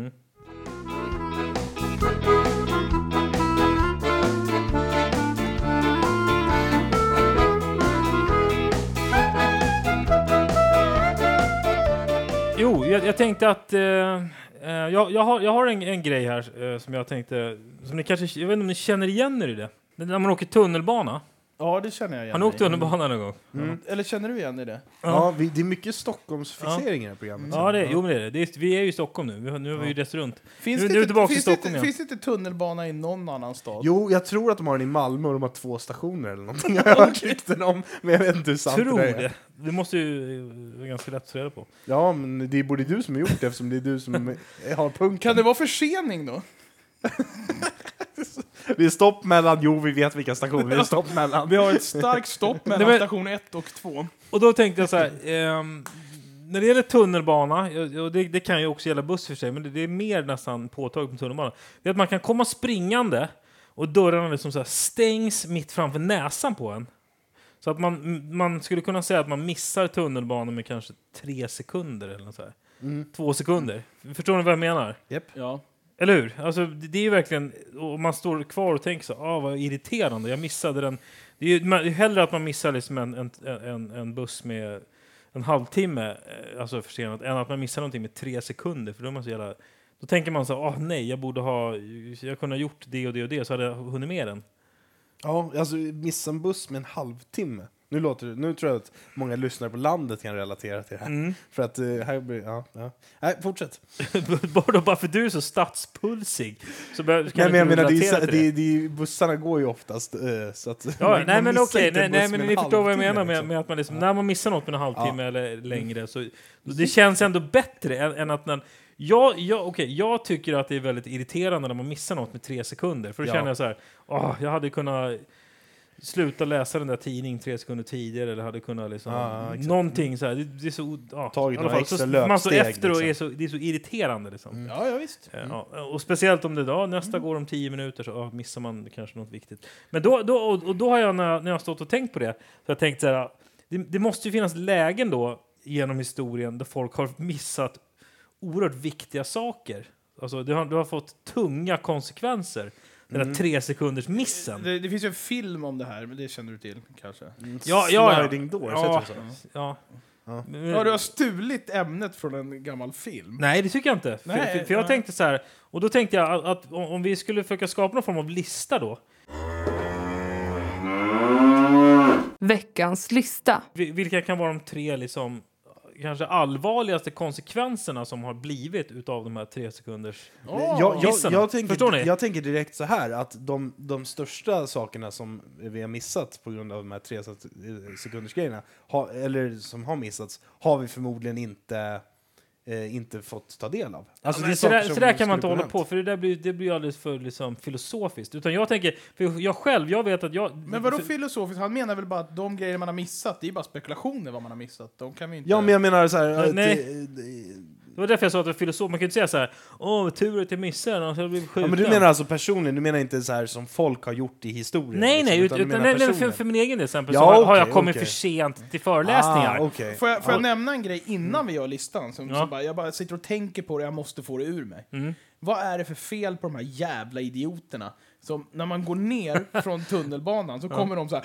Speaker 3: Jo, jag, jag tänkte att... Eh, eh, jag, jag har, jag har en, en grej här eh, som jag tänkte... Som ni kanske, jag vet inte om ni känner igen er i det? Det är När man åker tunnelbana.
Speaker 5: Ja, det känner jag igen
Speaker 3: Har ni
Speaker 5: mig
Speaker 3: åkt
Speaker 5: i.
Speaker 3: tunnelbana någon gång?
Speaker 5: Eller känner du igen dig i det?
Speaker 4: Ja, vi, det är mycket Stockholmsfixering i det här programmet.
Speaker 3: Ja, det, jo, men det är det. det är, vi är ju i Stockholm nu. Vi, har- nu har vi ju rest runt.
Speaker 5: Finns,
Speaker 3: Nu-
Speaker 5: det,
Speaker 3: nu är vi
Speaker 5: inte,
Speaker 3: tillbaka i
Speaker 5: finns,
Speaker 3: Stockholm
Speaker 5: det,
Speaker 3: igen.
Speaker 5: inte- finns det inte tunnelbana i någon annan stad?
Speaker 4: Jo, jag tror att de har den i Malmö och de har två stationer eller någonting. Jag har hört rykten om, men jag vet inte hur sant
Speaker 3: Tror
Speaker 4: det är.
Speaker 3: det. Det måste ju eh, vara ganska lätt att reda på.
Speaker 4: Ja, men det är både du som har gjort det eftersom det är du som har punkt.
Speaker 5: Kan det vara försening då?
Speaker 4: Det är stopp mellan, jo vi vet vilka stationer det är stopp mellan.
Speaker 5: Vi har ett starkt stopp mellan
Speaker 3: Nej, men-
Speaker 5: station 1 och 2.
Speaker 3: Och då tänkte jag så här, ehm, när det gäller tunnelbana, och- och det, det kan ju också gälla buss för sig, men det, det är mer nästan påtagligt med tunnelbana, det är att man kan komma springande och dörrarna liksom så här stängs mitt framför näsan på en. Så att man, man skulle kunna säga att man missar tunnelbanan med kanske tre sekunder eller något så här. Två sekunder. Förstår ni vad jag menar?
Speaker 5: Ja.
Speaker 3: Eller hur? Alltså, det det är ju verkligen... Och man står kvar och tänker så ah, vad irriterande, jag missade den. Det är ju man, det är hellre att man missar liksom en, en, en, en buss med en halvtimme eh, alltså försenat än att man missar någonting med tre sekunder. För då, är man så jävla, då tänker man så ah, nej, jag borde ha... Jag kunde ha gjort det och det och det så hade jag hunnit med den.
Speaker 4: Ja, alltså missa en buss med en halvtimme. Nu, låter, det- nu tror jag att många lyssnare på landet kan relatera till det här. För att eh, här blir, ja, ja. Nej, fortsätt.
Speaker 3: bara, bara för du är så stadspulsig så behöver, kan
Speaker 4: Nej, men jag
Speaker 3: du inte
Speaker 4: menar, det är,
Speaker 3: relatera
Speaker 4: så-
Speaker 3: till
Speaker 4: det, är- det är, bussarna går ju oftast eh, så att...
Speaker 3: Ja,
Speaker 4: man-
Speaker 3: nej men
Speaker 4: man missar
Speaker 3: okej,
Speaker 4: inte
Speaker 3: nej,
Speaker 4: en
Speaker 3: nej
Speaker 4: buss
Speaker 3: men
Speaker 4: med
Speaker 3: ni
Speaker 4: en
Speaker 3: förstår vad jag menar
Speaker 4: halvtimme,
Speaker 3: med,
Speaker 4: liksom. Mm.
Speaker 3: med att man liksom, när man missar något med en halvtimme eller längre så det känns ändå bättre än, än att när, jag, jag, okej, jag tycker att det är väldigt irriterande när man missar något med tre sekunder för då
Speaker 4: Ja.
Speaker 3: känner jag så här, åh, jag hade kunnat sluta läsa den där tidningen tre sekunder tidigare eller hade kunnat liksom,
Speaker 4: Ja, exakt.
Speaker 3: någonting så här, det, det är så, ja,
Speaker 4: Tagit
Speaker 3: i alla
Speaker 4: några
Speaker 3: fall,
Speaker 4: extra
Speaker 3: så, Man står
Speaker 4: löpsteg,
Speaker 3: efter och är
Speaker 4: liksom.
Speaker 3: så, det är så irriterande liksom.
Speaker 5: Ja, ja visst.
Speaker 3: Eh, Ja, och speciellt om det då, nästa
Speaker 5: Mm.
Speaker 3: går om tio minuter så ah, missar man kanske något viktigt. Men då, då, och, och då har jag, när, jag- när jag har stått och tänkt på det, så har jag tänkt så här, det, det måste ju finnas lägen då genom historien där folk har missat oerhört viktiga saker. Alltså, det har, det har fått tunga konsekvenser, den där tre sekunders missen.
Speaker 5: Mm. Det, det finns ju en film om det här, men det känner du till kanske.
Speaker 4: Mm.
Speaker 3: Ja, ja, ja.
Speaker 4: liksom. Sliding doors,
Speaker 3: Ja.
Speaker 4: heter det så?
Speaker 3: Ja.
Speaker 4: Ja.
Speaker 3: Men-
Speaker 5: Ja, du har stulit ämnet från en gammal film.
Speaker 3: Nej, det tycker jag inte. För-
Speaker 5: Nej,
Speaker 3: för, för jag
Speaker 5: nej.
Speaker 3: tänkte så här, och då tänkte jag att, att om- om vi skulle försöka skapa någon form av lista då,
Speaker 1: Veckans lista.
Speaker 3: Vi- Vilka kan vara de tre liksom, kanske allvarligaste konsekvenserna som har blivit utav de här tre sekunders...
Speaker 5: Åh,
Speaker 4: jag, jag,
Speaker 3: gissarna.
Speaker 4: jag,
Speaker 3: Förstår ni?
Speaker 4: tänker, jag tänker direkt så här att de, de största sakerna som vi har missat på grund av de här tre sek- sekundersgrejerna, ha, eller som har missats, har vi förmodligen inte, eh, inte fått ta del av. Alltså,
Speaker 3: Ja,
Speaker 4: det är
Speaker 3: men så,
Speaker 4: saker
Speaker 3: där,
Speaker 4: som
Speaker 3: så där kan
Speaker 4: skulle
Speaker 3: man inte
Speaker 4: kunna
Speaker 3: hålla
Speaker 4: hänt.
Speaker 3: på, för det där blir, det blir alldeles för liksom, filosofiskt. Utan jag tänker, för jag själv, jag vet att jag...
Speaker 5: Men vadå
Speaker 3: för,
Speaker 5: filosofiskt? Han menar väl bara att de grejer man har missat, det är bara spekulationer vad man har missat. De kan vi inte...
Speaker 4: Ja, men jag menar så här... att eh,
Speaker 3: nej.
Speaker 4: det- det-
Speaker 3: det var därför jag sa att det var filosof. Man kan ju inte säga så här, åh, tur att jag missade den, annars hade jag blivit
Speaker 4: Ja,
Speaker 3: skjuten.
Speaker 4: men du menar alltså personligen, du menar inte så här som folk har gjort i historien?
Speaker 3: Nej,
Speaker 4: liksom,
Speaker 3: nej, ut,
Speaker 4: du
Speaker 3: utan,
Speaker 4: menar
Speaker 3: nej, nej för,
Speaker 4: personen.
Speaker 3: för min egen del exempel
Speaker 4: Ja,
Speaker 3: så har, har jag
Speaker 4: okej,
Speaker 3: kommit
Speaker 4: okej.
Speaker 3: för sent till föreläsningar.
Speaker 4: Ah, okej.
Speaker 5: Får jag, får jag nämna en grej
Speaker 4: Mm.
Speaker 5: innan vi gör listan? Som,
Speaker 3: Ja.
Speaker 5: som bara, jag bara sitter och tänker på det, jag måste få det ur mig.
Speaker 4: Mm.
Speaker 5: Vad är det för fel på de här jävla idioterna? Som när man går ner från tunnelbanan så kommer de så här.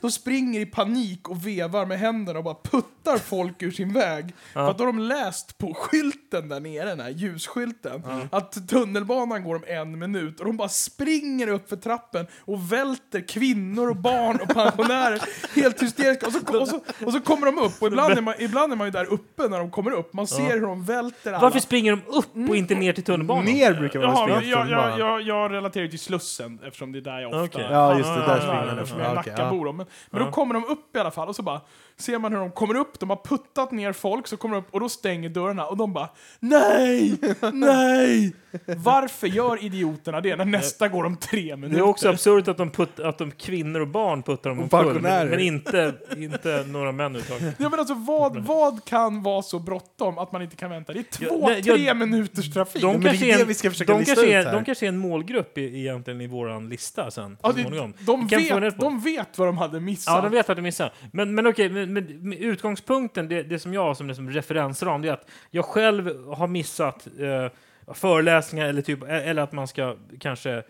Speaker 5: De springer i panik och vevar med händerna och bara puttar folk ur sin väg. För att då har de läst på skylten där nere, den här ljusskylten, att tunnelbanan går om en minut och de bara springer upp för trappen och välter kvinnor och barn och pensionärer helt hysteriska. Och så, och så, och så kommer de upp och ibland är, man, ibland är man ju där uppe när de kommer upp. Man ser hur de välter alla.
Speaker 3: Varför springer de upp och inte ner till tunnelbanan?
Speaker 4: Ner brukar man
Speaker 5: Jaha,
Speaker 4: springa
Speaker 5: men jag,
Speaker 4: efter bara.
Speaker 5: jag, jag, jag relaterar ju till Slussen eftersom det är där jag ofta Ah,
Speaker 3: Okej.
Speaker 4: Ja, just det, där
Speaker 5: Ja,
Speaker 4: springer man.
Speaker 5: eftersom jag är
Speaker 4: Ja, okej, ja.
Speaker 5: Nackabor. då. Men, men då kommer de upp i alla fall och så bara ser man hur de kommer upp. De har puttat ner folk så kommer de upp och då stänger dörrarna och de bara nej, nej. Varför gör idioterna det när nästa går om tre
Speaker 3: Det är
Speaker 5: minuter?
Speaker 3: också absurt att de, putt, att de kvinnor och barn puttar dem omkull, men,
Speaker 4: pensionärer.
Speaker 3: men inte, inte några män överhuvudtaget.
Speaker 5: Ja, men alltså, vad, vad kan vara så bråttom att man inte kan vänta? Det är två,
Speaker 3: nej, jag-
Speaker 5: tre minuters trafik.
Speaker 3: De
Speaker 4: men
Speaker 3: kanske
Speaker 4: det är
Speaker 3: är
Speaker 4: det
Speaker 3: en-
Speaker 4: vi ska försöka
Speaker 3: de
Speaker 4: lista
Speaker 3: kanske
Speaker 4: ut
Speaker 3: är-
Speaker 4: här.
Speaker 3: de kanske är en målgrupp i, egentligen i våran lista sen.
Speaker 5: Ja,
Speaker 3: så
Speaker 5: det,
Speaker 3: småningom.
Speaker 5: de,
Speaker 3: Vi kan få reda
Speaker 5: vet,
Speaker 3: på.
Speaker 5: de vet vad de hade missat.
Speaker 3: Ja, de vet att de missar. Men, men okej, men, men, men utgångspunkten, det, det som jag har som liksom referensram, det är att jag själv har missat eh, föreläsningar eller, typ, eller att man ska kanske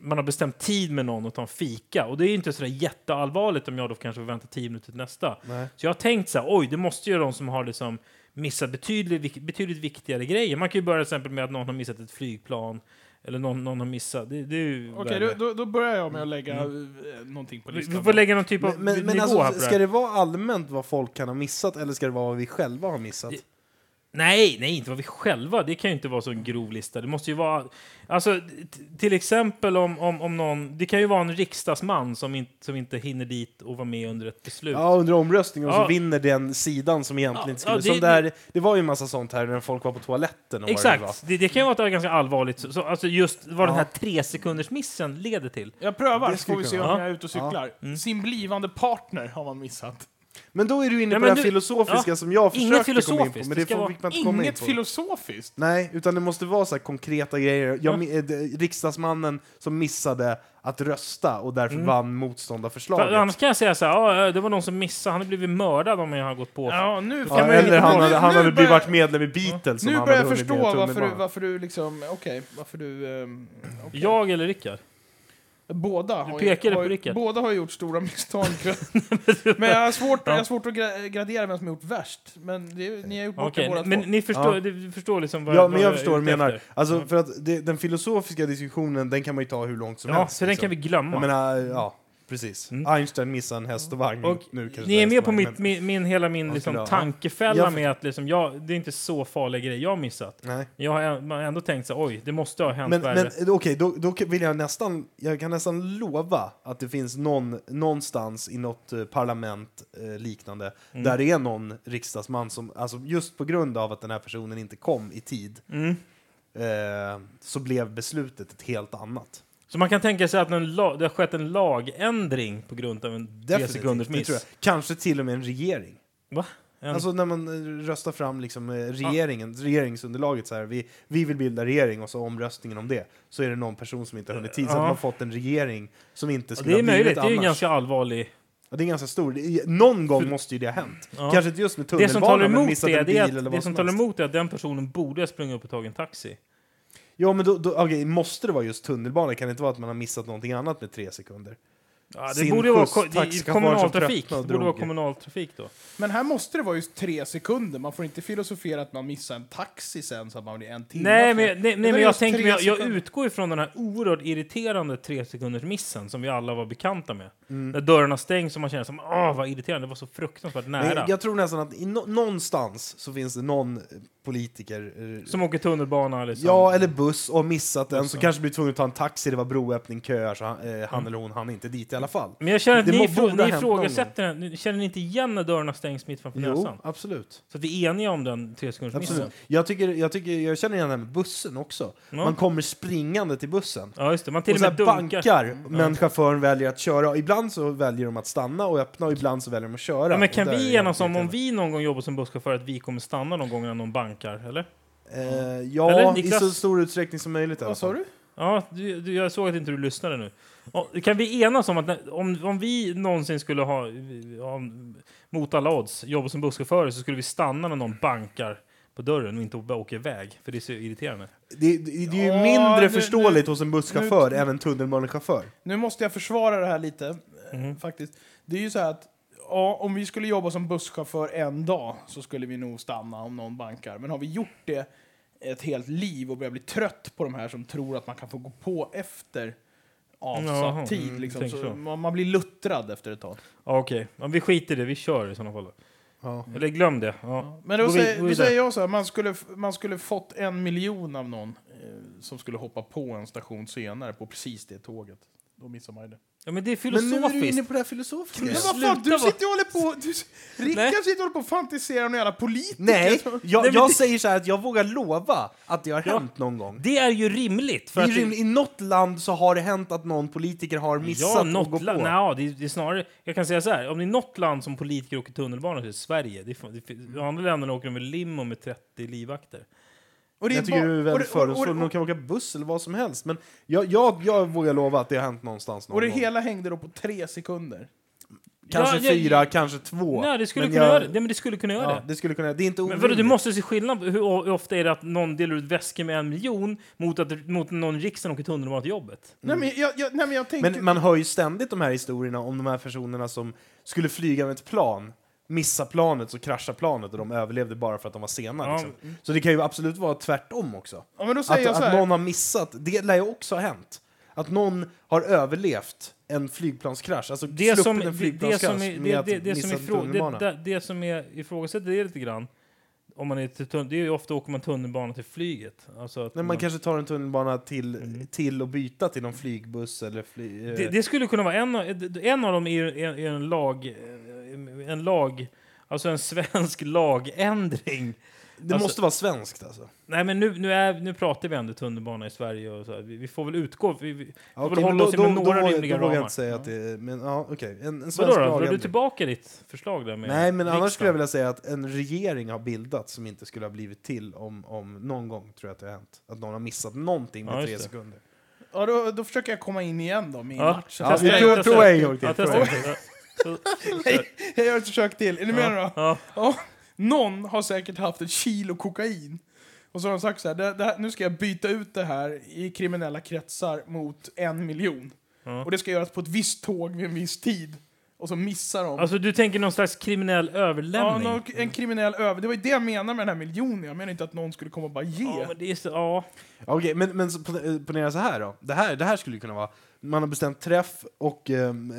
Speaker 3: man har bestämt tid med någon och ta en fika. Och det är ju inte så där jätteallvarligt om jag då kanske får vänta 10 minuter till nästa.
Speaker 4: Nej.
Speaker 3: Så jag har tänkt så här, oj, det måste ju de som har liksom missat betydligt, vik- betydligt viktigare grejer. Man kan ju börja till exempel med att någon har missat ett flygplan eller någon, någon har missat... Det, det är ju
Speaker 5: Okej,
Speaker 3: värre.
Speaker 5: då- då, då börjar jag med
Speaker 4: Mm.
Speaker 5: att lägga eh, någonting på
Speaker 3: vi,
Speaker 5: listan.
Speaker 3: vi får lägga någon typ av
Speaker 4: Men, men,
Speaker 3: nivå
Speaker 4: men
Speaker 3: här på
Speaker 4: alltså,
Speaker 3: det här.
Speaker 4: ska det vara allmänt vad folk kan ha missat eller ska det vara vad vi själva har missat?
Speaker 3: Nej, nej, inte vad vi själva. Det kan ju inte vara så en grov lista. Det måste ju vara... Alltså, t- till exempel om, om, om någon... Det kan ju vara en riksdagsman som, in, som inte hinner dit och vara med under ett beslut.
Speaker 4: Ja, under omröstningen och
Speaker 3: Ja.
Speaker 4: så vinner den sidan som egentligen inte
Speaker 3: Ja,
Speaker 4: skulle...
Speaker 3: ja,
Speaker 4: Det,
Speaker 3: det-
Speaker 4: som där, det var ju en massa sånt här när folk var på toaletten och vad det var.
Speaker 3: Exakt. Det, det kan ju vara ett ganska allvarligt... Så, så, alltså just vad den här tre sekunders missen leder till.
Speaker 5: Jag prövar
Speaker 4: Det
Speaker 5: så får vi
Speaker 4: skulle Mm.
Speaker 5: se om
Speaker 3: kunna-
Speaker 5: jag är ute och cyklar. Sin blivande partner har man missat.
Speaker 4: Men då är du inne
Speaker 3: Nej, men
Speaker 4: på det här
Speaker 3: du-
Speaker 4: filosofiska
Speaker 3: ja.
Speaker 4: som
Speaker 3: Inget
Speaker 4: jag försökte komma in på,
Speaker 3: filosofiskt.
Speaker 4: men
Speaker 3: Det
Speaker 4: det
Speaker 3: ska
Speaker 4: får-
Speaker 3: vara
Speaker 4: fick man inte komma in
Speaker 5: Inget
Speaker 4: på.
Speaker 5: filosofiskt.
Speaker 4: Nej, utan det måste vara så här konkreta grejer. Jag, mi- eh, d- riksdagsmannen som missade att rösta och därför vann motståndarförslaget.
Speaker 3: Mm. För, annars kan jag säga så här, "Ja, det var någon som missade, han har blivit mördad om jag har gått på.
Speaker 5: Ja, nu
Speaker 4: ja,
Speaker 5: man ju-
Speaker 4: eller han hade, han
Speaker 5: nu
Speaker 4: hade blivit
Speaker 5: börjar-
Speaker 4: varit medlem i Beatles.
Speaker 5: Nu
Speaker 4: om han
Speaker 5: börjar jag
Speaker 4: hade hunnit
Speaker 5: förstå
Speaker 4: med en
Speaker 5: varför du,
Speaker 4: tunnelbana.
Speaker 5: varför du liksom, okej, varför du... ehm, okej.
Speaker 3: Jag eller Rickard?
Speaker 5: Båda har,
Speaker 3: pekar
Speaker 5: ju,
Speaker 3: på
Speaker 5: har, ju-
Speaker 3: Rickard.
Speaker 5: båda har ju gjort stora misstag. men jag har svårt, jag har svårt att gra- gradera vem som har gjort värst. Men det, är- ni har gjort bort det
Speaker 3: Okej,
Speaker 5: båda
Speaker 3: men
Speaker 5: två.
Speaker 3: ni förstår,
Speaker 4: Ja.
Speaker 3: du förstår liksom vad
Speaker 4: Ja, men jag
Speaker 3: är
Speaker 4: förstår vad du
Speaker 3: ute
Speaker 4: menar.
Speaker 3: efter.
Speaker 4: Alltså, för att det, den filosofiska diskussionen, den kan man ju ta hur långt som
Speaker 3: Ja,
Speaker 4: helst.
Speaker 3: så den
Speaker 4: liksom.
Speaker 3: kan vi glömma. Mm.
Speaker 4: Jag menar, ja, precis. Einstein missade en häst och vagn.
Speaker 3: Och
Speaker 4: nu kanske
Speaker 3: ni
Speaker 4: det
Speaker 3: är med
Speaker 4: häst
Speaker 3: på
Speaker 4: och vagn,
Speaker 3: mitt, min, min, hela min
Speaker 4: Ja,
Speaker 3: liksom,
Speaker 4: skulle jag-
Speaker 3: tankefälla
Speaker 4: Jag-
Speaker 3: med att liksom, jag, det är inte så farliga grejer jag har missat.
Speaker 4: Men, nej.
Speaker 3: Jag har ä- man har ändå tänkt så här, oj, det måste ha hänt
Speaker 4: Men,
Speaker 3: värre.
Speaker 4: men okej, då, då kan- vill jag nästan, jag kan nästan lova att det finns någon, någonstans i något eh, parlament eh, liknande
Speaker 3: Mm.
Speaker 4: där det är någon riksdagsman som, alltså just på grund av att den här personen inte kom i tid,
Speaker 3: Mm.
Speaker 4: eh, så blev beslutet ett helt annat.
Speaker 3: Så man kan tänka sig att en la, det har skett en lagändring på grund av en tre sekunders
Speaker 4: det tror jag.
Speaker 3: miss.
Speaker 4: Kanske till och med en regering.
Speaker 3: Va? En,
Speaker 4: Alltså när man eh, röstar fram liksom eh, regeringen, regeringsunderlaget så här, vi, vi vill bilda regering och så omröstningen om det, så är det någon person som inte har hunnit tid, så
Speaker 3: Ja.
Speaker 4: att man fått en regering som inte skulle
Speaker 3: det är
Speaker 4: ha blivit
Speaker 3: möjligt, det är ju
Speaker 4: annars.
Speaker 3: ganska allvarlig.
Speaker 4: Ja, det är ganska stor. Det är- Någon gång måste ju det ha hänt. Kanske inte just med
Speaker 3: Det som talar
Speaker 4: tunnelbanan, men
Speaker 3: emot
Speaker 4: missat
Speaker 3: det,
Speaker 4: en bil
Speaker 3: det, är
Speaker 4: eller
Speaker 3: att, det
Speaker 4: vad
Speaker 3: som
Speaker 4: som
Speaker 3: talar
Speaker 4: helst.
Speaker 3: emot är att den personen borde ha sprungit upp och tagit en taxi.
Speaker 4: Ja, men då, då, okej, måste det vara just tunnelbanan? Kan det inte vara att man har missat någonting annat med tre sekunder?
Speaker 3: Ja, det
Speaker 4: Sin
Speaker 3: borde ju vara
Speaker 4: skjuts,
Speaker 3: ko- det är ju
Speaker 4: taxichauffören som
Speaker 3: kommunaltrafik.
Speaker 4: tröttnade
Speaker 3: Det
Speaker 4: och
Speaker 3: borde vara
Speaker 4: drog.
Speaker 3: kommunaltrafik då.
Speaker 5: Men här måste det vara just tre sekunder. Man får inte filosofera att man missar en taxi sen så att man blir en timme för-
Speaker 3: Nej, men, nej,
Speaker 5: Det
Speaker 3: nej,
Speaker 5: var
Speaker 3: men jag,
Speaker 5: just
Speaker 3: tänker,
Speaker 5: tre
Speaker 3: men jag, jag
Speaker 5: sekunder.
Speaker 3: utgår ifrån den här oerhört irriterande tre sekunders missen som vi alla var bekanta med. När dörrarna stängs och man känner som åh vad irriterande, det var så fruktansvärt nära.
Speaker 4: Men jag tror nästan att i nå- någonstans så finns det någon eh, politiker eh,
Speaker 3: Som åker tunnelbana liksom. eller så.
Speaker 4: Ja, eller buss och missat den så kanske blir tvungen att ta en taxi, det var broöppning, köer så han, eh,
Speaker 3: Mm.
Speaker 4: han eller hon hann inte dit i alla fall.
Speaker 3: Men jag känner att
Speaker 4: Det
Speaker 3: ni,
Speaker 4: må-
Speaker 3: ifrå-
Speaker 4: borde ha
Speaker 3: ni
Speaker 4: hänt någon gång.
Speaker 3: ifrågasätter den. Ni- Känner ni inte igen när dörrarna stängs mitt framför
Speaker 4: Jo,
Speaker 3: näsan?
Speaker 4: absolut.
Speaker 3: Så att vi är eniga om den tre sekunders
Speaker 4: absolut.
Speaker 3: missen.
Speaker 4: Jag, tycker, jag, tycker, jag känner igen det här med bussen också. Man kommer springande till bussen.
Speaker 3: Ja, just det. Man till
Speaker 4: och
Speaker 3: och
Speaker 4: så
Speaker 3: med
Speaker 4: här
Speaker 3: dunkar. Mm.
Speaker 4: bankar, men chauffören väljer att köra. Och Ibland så väljer de att stanna och öppna och ibland så väljer de att köra.
Speaker 3: Ja, men
Speaker 4: Och
Speaker 3: kan
Speaker 4: där är
Speaker 3: vi
Speaker 4: jag
Speaker 3: enas om, om
Speaker 4: irriterad.
Speaker 3: vi någon gång jobbar som busschaufför att vi kommer stanna någon gång när någon bankar? Eller?
Speaker 4: Eh, ja,
Speaker 3: Eller,
Speaker 4: i
Speaker 3: Niklas?
Speaker 4: så stor utsträckning som möjligt. i alla
Speaker 5: Vad sa
Speaker 4: fall.
Speaker 5: du?
Speaker 3: Ja, du, du, jag såg att inte du lyssnade nu. Och, kan vi enas om att när, om, om vi någonsin skulle ha, ja, mot alla odds, jobba som busschaufförer så skulle vi stanna när någon bankar på dörren och inte bara åka iväg, för det är så irriterande.
Speaker 4: Det, det, det är ju
Speaker 5: Ja,
Speaker 4: mindre
Speaker 5: nu-
Speaker 4: förståeligt hos en busschaufför än en tunnelbanechaufför.
Speaker 5: Nu måste jag försvara det här lite, eh,
Speaker 3: Mm.
Speaker 5: faktiskt. Det är ju så här att ja, om vi skulle jobba som busschaufför en dag så skulle vi nog stanna om någon bankar. Men har vi gjort det ett helt liv och börjar bli trött på de här som tror att man kan få gå på efter avsatt
Speaker 3: Jaha,
Speaker 5: tid,
Speaker 3: mm,
Speaker 5: liksom,
Speaker 3: tänker
Speaker 5: så
Speaker 3: så.
Speaker 5: man, man blir luttrad efter ett tag.
Speaker 3: Ja, okej. Ja, vi skiter i det, vi kör i sådana fall.
Speaker 4: Mm.
Speaker 3: då.
Speaker 4: Ja.
Speaker 3: Eller glöm det. Ja.
Speaker 5: Men då,
Speaker 3: Gå vid-
Speaker 5: säger,
Speaker 3: gå
Speaker 5: då
Speaker 3: vidare.
Speaker 5: säger jag så här, man skulle, man skulle fått en miljon av någon eh, som skulle hoppa på en station senare på precis det tåget. Då missar man ju det.
Speaker 3: Ja, men det är
Speaker 4: Men nu är du
Speaker 3: filosofiskt.
Speaker 4: inne på det här filosofiska.
Speaker 5: Men
Speaker 4: igen.
Speaker 5: vad fan, du
Speaker 3: Sluta
Speaker 5: sitter och håller på... Du, Rickard sitter och håller på och fantiserar om jävla politiker.
Speaker 4: Nej,
Speaker 5: som-
Speaker 4: jag,
Speaker 3: men
Speaker 4: jag
Speaker 3: det-
Speaker 4: säger så här att jag vågar lova att det har hänt någon gång.
Speaker 3: Det är ju rimligt. För
Speaker 4: I,
Speaker 3: att det-
Speaker 4: rim- I något land så har det hänt att någon politiker har missat
Speaker 3: Ja,
Speaker 4: att gå
Speaker 3: något
Speaker 4: på.
Speaker 3: land. Nja, det, är- det är snarare... Jag kan säga så här. Om det är något land som politiker åker tunnelbana till, Sverige. Det är, fan- det, fin- I andra länder åker de med limo med 30 livvakter.
Speaker 5: Och det
Speaker 4: jag tycker
Speaker 5: bara-
Speaker 4: du är
Speaker 5: och det-
Speaker 4: väldigt
Speaker 5: och- och-
Speaker 4: fördomsfull.
Speaker 5: och-
Speaker 4: Någon kan åka buss eller vad som helst. Men jag, jag, jag vågar lova att det har hänt någonstans någon
Speaker 5: Och det
Speaker 4: gång.
Speaker 5: hela hängde då på tre sekunder.
Speaker 4: Kanske
Speaker 3: Ja, jag-
Speaker 4: fyra, kanske två.
Speaker 3: Nej, det skulle
Speaker 4: Men
Speaker 3: kunna
Speaker 4: jag-
Speaker 3: göra det. Nej, men det skulle kunna göra
Speaker 4: Ja,
Speaker 3: det.
Speaker 4: det skulle kunna... Det är inte
Speaker 3: Men
Speaker 4: orimligt.
Speaker 3: vadå, du måste se skillnad på hur, hur ofta är det att någon delar ut väskor med en miljon mot att mot någon i riksdagen åker tunnelbana till jobbet?
Speaker 5: Nej, men jag, jag, nej, men jag tänker...
Speaker 4: Men man hör ju ständigt de här historierna om de här personerna som skulle flyga med ett plan, missa planet, så kraschar planet och de överlevde bara för att de var sena.
Speaker 3: Ja.
Speaker 4: Liksom. Så det kan ju absolut vara tvärtom också.
Speaker 5: ja, men då säger
Speaker 4: Att,
Speaker 5: jag så
Speaker 4: att
Speaker 5: här.
Speaker 4: någon har missat, det lär ju också ha hänt. Att någon har överlevt en flygplanskrasch, alltså
Speaker 3: Det
Speaker 4: sluppit
Speaker 3: som,
Speaker 4: en
Speaker 3: det, det,
Speaker 4: flygplanskrasch
Speaker 3: som är,
Speaker 4: med
Speaker 3: det,
Speaker 4: att
Speaker 3: det, det, som
Speaker 4: missa
Speaker 3: är
Speaker 4: en
Speaker 3: frå,
Speaker 4: tunnelbana.
Speaker 3: det, det, det som är ifrågasätter det lite grann, om man är till tunnel, det är ju ofta åker man tunnelbana till flyget. Alltså att
Speaker 4: När man kanske tar en tunnelbana till, till och byta till någon flygbuss eller fly... eh,
Speaker 3: Mm. Det, det skulle kunna vara en, av- eh, en av dem är ju en, är en lag... eh, En lag... Alltså en svensk lagändring.
Speaker 4: det
Speaker 3: alltså-
Speaker 4: måste vara svenskt alltså.
Speaker 3: Nej, men nu, nu, är, nu pratar vi ändå tunnelbana i Sverige. Och så här. Vi, vi får väl utgå... Vi, vi
Speaker 4: Ja,
Speaker 3: får väl
Speaker 4: okej, men
Speaker 3: hålla oss
Speaker 4: då-
Speaker 3: inom
Speaker 4: då-
Speaker 3: några
Speaker 4: då-
Speaker 3: rimliga
Speaker 4: Då vågar jag
Speaker 3: ramar.
Speaker 4: inte säga att det är... Men, ja, okej. En, en
Speaker 3: Vadå
Speaker 4: svensk
Speaker 3: då? Drar du
Speaker 4: lagändring.
Speaker 3: tillbaka ditt förslag där med
Speaker 4: Nej, men annars skulle
Speaker 3: riksdagen?
Speaker 4: jag vilja säga att en regering har bildats som inte skulle ha blivit till om, om någon gång tror jag att det har hänt. Att någon har missat någonting med
Speaker 3: Ja, just
Speaker 4: tre
Speaker 3: det.
Speaker 4: sekunder.
Speaker 5: Ja, då, då försöker jag komma in igen då, med
Speaker 3: Ja,
Speaker 5: matchen.
Speaker 3: testa,
Speaker 4: vi provar-
Speaker 3: testa.
Speaker 4: provar en gång till,
Speaker 3: Ja, testa
Speaker 4: provar
Speaker 3: en gång till. Ja.
Speaker 5: Jag gör ett försök till. Är ni med nu då?
Speaker 3: Ja.
Speaker 5: Ja, någon har säkert haft ett kilo kokain. Och så har de sagt så här, det, det här, nu ska jag byta ut det här i kriminella kretsar mot en miljon.
Speaker 3: Ja.
Speaker 5: Och det ska göras på ett visst tåg vid en viss tid. Och så missar de.
Speaker 3: Alltså, du tänker någon slags kriminell
Speaker 5: ja,
Speaker 3: överlämning?
Speaker 5: någon, en kriminell över... Det var ju det jag menade med den här miljonen. Jag menar inte att någon skulle komma och bara ge.
Speaker 3: Ja, men det är så... Ja.
Speaker 4: Okej, men, men så pone- eh, ponera så här då. Det här, det här skulle ju kunna vara... Man har bestämt träff och ehm,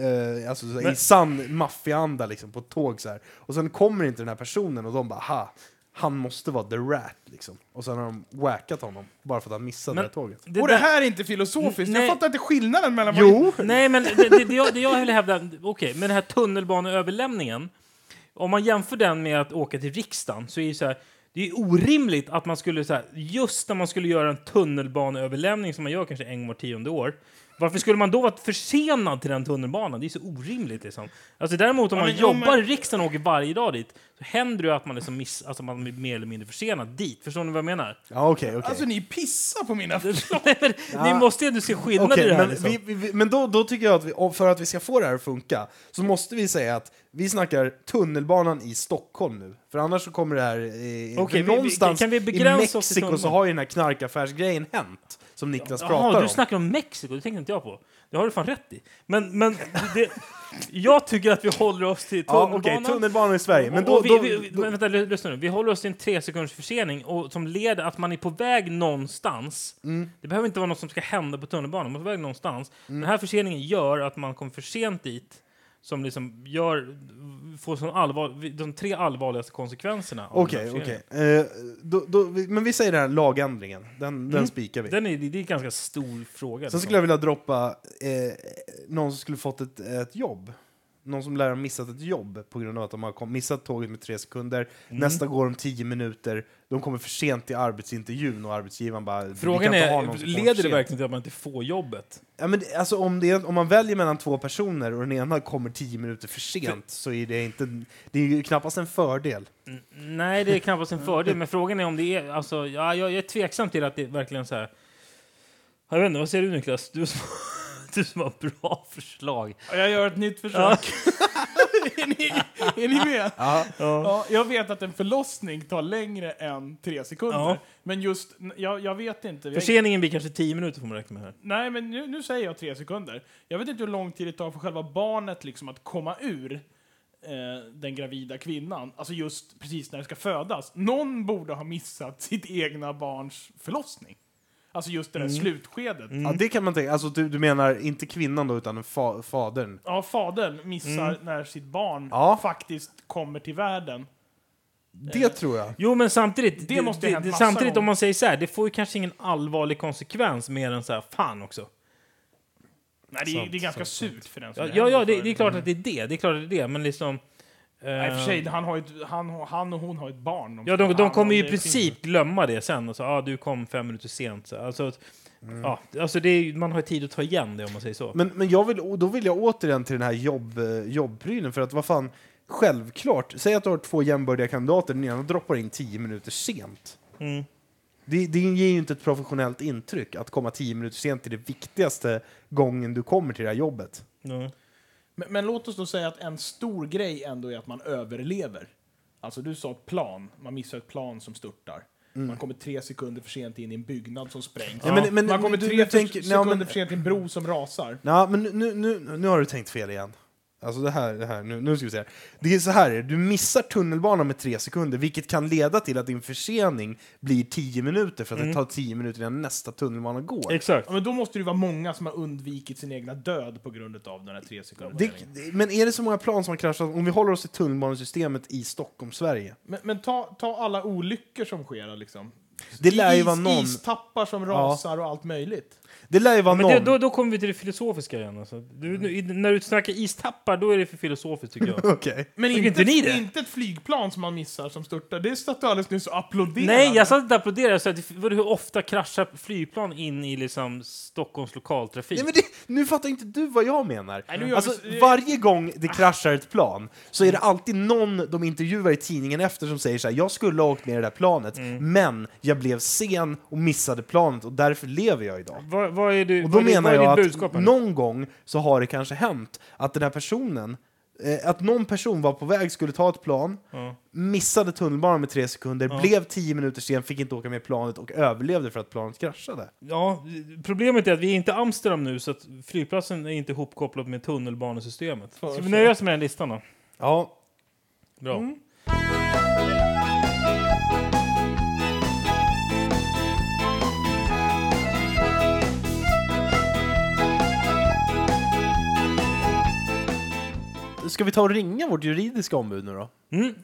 Speaker 4: eh, alltså, så här, i
Speaker 3: Men-
Speaker 4: sann maffiaanda liksom, på ett tåg så här. Och sen kommer inte den här personen och de bara ha, han måste vara the rat liksom. Och sen har de wackat honom bara för att han missade
Speaker 3: Men-
Speaker 4: det här tåget.
Speaker 5: och det här är inte filosofiskt.
Speaker 3: Nej.
Speaker 5: Jag fattar inte skillnaden mellan... vad-
Speaker 4: Jo!
Speaker 3: Nej, men det, det, det, jag, det jag vill hävda, okej, men den här tunnelbaneöverlämningen, om man jämför den med att åka till riksdagen så är det så här, det är ju orimligt att man skulle så här, just när man skulle göra en tunnelbaneöverlämning som man gör kanske en gång var tionde år, varför skulle man då vara försenad till den tunnelbanan? Det är så orimligt liksom. Alltså däremot om
Speaker 5: Ja,
Speaker 3: man
Speaker 5: men- ja,
Speaker 3: jobbar
Speaker 5: men-
Speaker 3: i riksdagen och åker varje dag dit så händer det ju att man liksom miss, alltså man är mer eller mindre försenad dit. Förstår ni vad jag menar?
Speaker 4: Ja, okej, okej.
Speaker 5: Alltså ni pissar på mina...
Speaker 3: Nej, men, Ni måste ju ändå se skillnad i
Speaker 4: Okej,
Speaker 3: det här.
Speaker 4: men,
Speaker 3: liksom.
Speaker 4: vi, vi, vi- men då, då tycker jag att vi, om- för att vi ska få det här att funka så måste vi säga att vi snackar tunnelbanan i Stockholm nu. För annars så kommer det här... Eh,
Speaker 3: Okej, vi- vi-
Speaker 4: någonstans
Speaker 3: kan vi begränsa
Speaker 4: i
Speaker 3: oss till
Speaker 4: Mexiko så
Speaker 3: tunnelbanan?
Speaker 4: har ju den här knarkaffärsgrejen hänt. Så som Niklas pratar
Speaker 3: Jaha,
Speaker 4: om.
Speaker 3: du snackar om Mexiko, det tänkte inte jag på. Det har du fan rätt i. Men, men det, jag tycker att vi håller oss till
Speaker 4: ja,
Speaker 3: tunnelbanan.
Speaker 4: okej, tunnelbanan i Sverige. Men då,
Speaker 3: och
Speaker 4: då,
Speaker 3: vi, vi, men vänta, l- lyssna nu. Vi håller oss till en tre sekunders försening och som leder att man är på väg någonstans.
Speaker 4: Mm.
Speaker 3: Det behöver inte vara något som ska hända på tunnelbanan. Man är på väg någonstans. Den här förseningen gör att man kommer för sent dit som liksom gör, får sån allvar, de tre allvarligaste konsekvenserna. av den
Speaker 4: Okej,
Speaker 3: här förseningen.
Speaker 4: okej. Eh, då- då- vi- Men vi säger den här lagändringen, den,
Speaker 3: Mm.
Speaker 4: den spikar vi.
Speaker 3: Den är, det är en ganska stor fråga. liksom.
Speaker 4: Sen skulle jag vilja droppa eh, någon som skulle fått ett, ett jobb. Någon som lär ha missat ett jobb på grund av att de har kom- missat tåget med tre sekunder.
Speaker 3: Mm.
Speaker 4: Nästa går om tio minuter. De kommer för sent till arbetsintervjun och arbetsgivaren bara... "Vi
Speaker 3: Frågan
Speaker 4: kan inte ha
Speaker 3: är,
Speaker 4: någon som kommer för
Speaker 3: leder det
Speaker 4: sent."
Speaker 3: verkligen till att man inte får jobbet?
Speaker 4: Ja, men, det- alltså, om, det är, om man väljer mellan två personer och den ena kommer tio minuter för sent så är det inte... Det är ju knappast en fördel.
Speaker 3: Nej, det är knappast en fördel, men frågan är om det är... Alltså, ja, jag, jag är tveksam till att det är verkligen så här... Jag vet inte, vad säger du Niklas? Du som, du som har bra förslag.
Speaker 5: Jag gör ett nytt försök. är, ni, är ni med?
Speaker 4: Ja.
Speaker 5: Ja, jag vet att en förlossning tar längre än tre sekunder.
Speaker 3: Ja.
Speaker 5: Men just, n- jag, jag vet inte. Vi har-
Speaker 3: Förseningen blir kanske 10 minuter får man räkna med här.
Speaker 5: Nej, men nu, nu säger jag tre sekunder. Jag vet inte hur lång tid det tar för själva barnet liksom att komma ur eh, den gravida kvinnan. Alltså just precis när det ska födas. Någon borde ha missat sitt egna barns förlossning. Alltså just det
Speaker 3: Mm.
Speaker 5: där slutskedet.
Speaker 4: Ja, det kan man tänka. Alltså, du, du menar inte kvinnan då, utan fa- fadern?
Speaker 5: Ja, fadern missar
Speaker 3: Mm.
Speaker 5: när sitt barn
Speaker 4: Ja.
Speaker 5: faktiskt kommer till världen.
Speaker 3: Eh.
Speaker 4: Det tror jag.
Speaker 3: Jo, men samtidigt...
Speaker 5: Det måste ha hänt massa
Speaker 3: Samtidigt, om
Speaker 5: gånger.
Speaker 3: man säger så här, det får ju kanske ingen allvarlig konsekvens mer än så här, fan också.
Speaker 5: Nej, det, är, det är ganska surt för den som
Speaker 3: Ja,
Speaker 5: är
Speaker 3: ja, ja
Speaker 5: äldre
Speaker 3: det,
Speaker 5: för-
Speaker 3: det är Mm. klart att det är det. Det är klart att det är det, men liksom...
Speaker 5: Nej, i och för sig,
Speaker 3: eh,
Speaker 5: han, har ju ett, han, och- han och hon har ju ett barn.
Speaker 3: Ja, de, de kommer ju i
Speaker 5: det
Speaker 3: princip glömma det sen. Och så, ah, du kom fem minuter sent. Så, alltså, att-
Speaker 4: Mm.
Speaker 3: ja, alltså det är, ju- man har ju tid att ta igen det om man säger så.
Speaker 4: Men, men jag vill, och då vill jag återigen till den här jobb, eh, jobbprylen, för att vad fan, självklart, säg att du har två jämbördiga kandidater, den ena droppar in 10 minuter sent.
Speaker 3: Mm.
Speaker 4: Det, det ger ju inte ett professionellt intryck att komma 10 minuter sent till det viktigaste gången du kommer till det här jobbet.
Speaker 3: Ja.
Speaker 5: Men, men låt oss då säga att en stor grej ändå är att man överlever. Alltså du sa ett plan, man missar ett plan som störtar. Man kommer tre sekunder för sent in i en byggnad som sprängs.
Speaker 4: Mm. Ja, men- men-
Speaker 5: man kommer
Speaker 4: du-
Speaker 5: tre
Speaker 4: du
Speaker 5: för-
Speaker 4: tänker- nej,
Speaker 5: sekunder
Speaker 4: men-
Speaker 5: för sent i en bro som rasar.
Speaker 4: Ja, men nu, nu, nu har du tänkt fel igen. Alltså det här, det här nu, nu ska vi se. här. Det är så här, du missar tunnelbanan med tre sekunder, vilket kan leda till att din försening blir 10 minuter, för att det tar 10 minuter innan nästa tunnelbana går.
Speaker 3: Exakt.
Speaker 5: Ja, men då måste det ju vara många som har undvikit sin egna död på grund av den här tre
Speaker 4: Det,
Speaker 5: sekunderna.
Speaker 4: det- men är det så många plan som har kraschat? Om vi håller oss till tunnelbanesystemet i Stockholm, Sverige.
Speaker 5: Men, men ta, ta alla olyckor som sker liksom.
Speaker 4: Det lär ju
Speaker 5: Is-
Speaker 4: vara någon.
Speaker 5: Istappar som rasar och allt möjligt.
Speaker 4: Det lär ju vara
Speaker 3: Men det,
Speaker 4: någon. Mm.
Speaker 3: då, då kommer vi till det filosofiska igen. Alltså. Du, nu, i- när du snackar istappar, då är det för filosofiskt tycker jag.
Speaker 4: Okej.
Speaker 5: Men
Speaker 3: Tycker
Speaker 5: inte,
Speaker 3: inte ni
Speaker 5: ett-
Speaker 3: det?
Speaker 5: inte ett flygplan som man missar som störtar. Det satt du alldeles nyss och applåderade.
Speaker 3: Nej, jag satt inte och applåderade. Så att, vadå, hur ofta kraschar flygplan in i liksom, Stockholms lokaltrafik?
Speaker 4: Nej, men det, nu fattar inte du vad jag menar.
Speaker 5: Nej, nu gör
Speaker 4: alltså,
Speaker 5: vi-
Speaker 4: varje gång det
Speaker 3: Ah.
Speaker 4: kraschar ett plan så är
Speaker 3: Mm.
Speaker 4: det alltid någon de intervjuar i tidningen efter som säger så här, jag skulle ha åkt med det där planet,
Speaker 3: Mm.
Speaker 4: men jag blev sen och missade planet och därför lever jag idag.
Speaker 3: Vad, vad är, du,
Speaker 4: Och då
Speaker 3: vad, är-
Speaker 4: menar
Speaker 3: vad är
Speaker 4: jag
Speaker 3: ditt
Speaker 4: att
Speaker 3: budskap? här nu?
Speaker 4: någon gång så har det kanske hänt att den här personen, eh, att någon person var på väg, skulle ta ett plan,
Speaker 3: Ja.
Speaker 4: missade tunnelbanan med tre sekunder, blev tio minuter sen, fick inte åka med planet och överlevde för att planet kraschade.
Speaker 3: Ja, problemet är att vi är inte i Amsterdam nu så att flygplatsen är inte ihopkopplad med tunnelbanesystemet. Ska vi nöja oss med den listan då?
Speaker 4: Ja,
Speaker 3: Bra.
Speaker 4: ska vi ta och ringa vårt juridiska ombud nu då?
Speaker 3: Mm.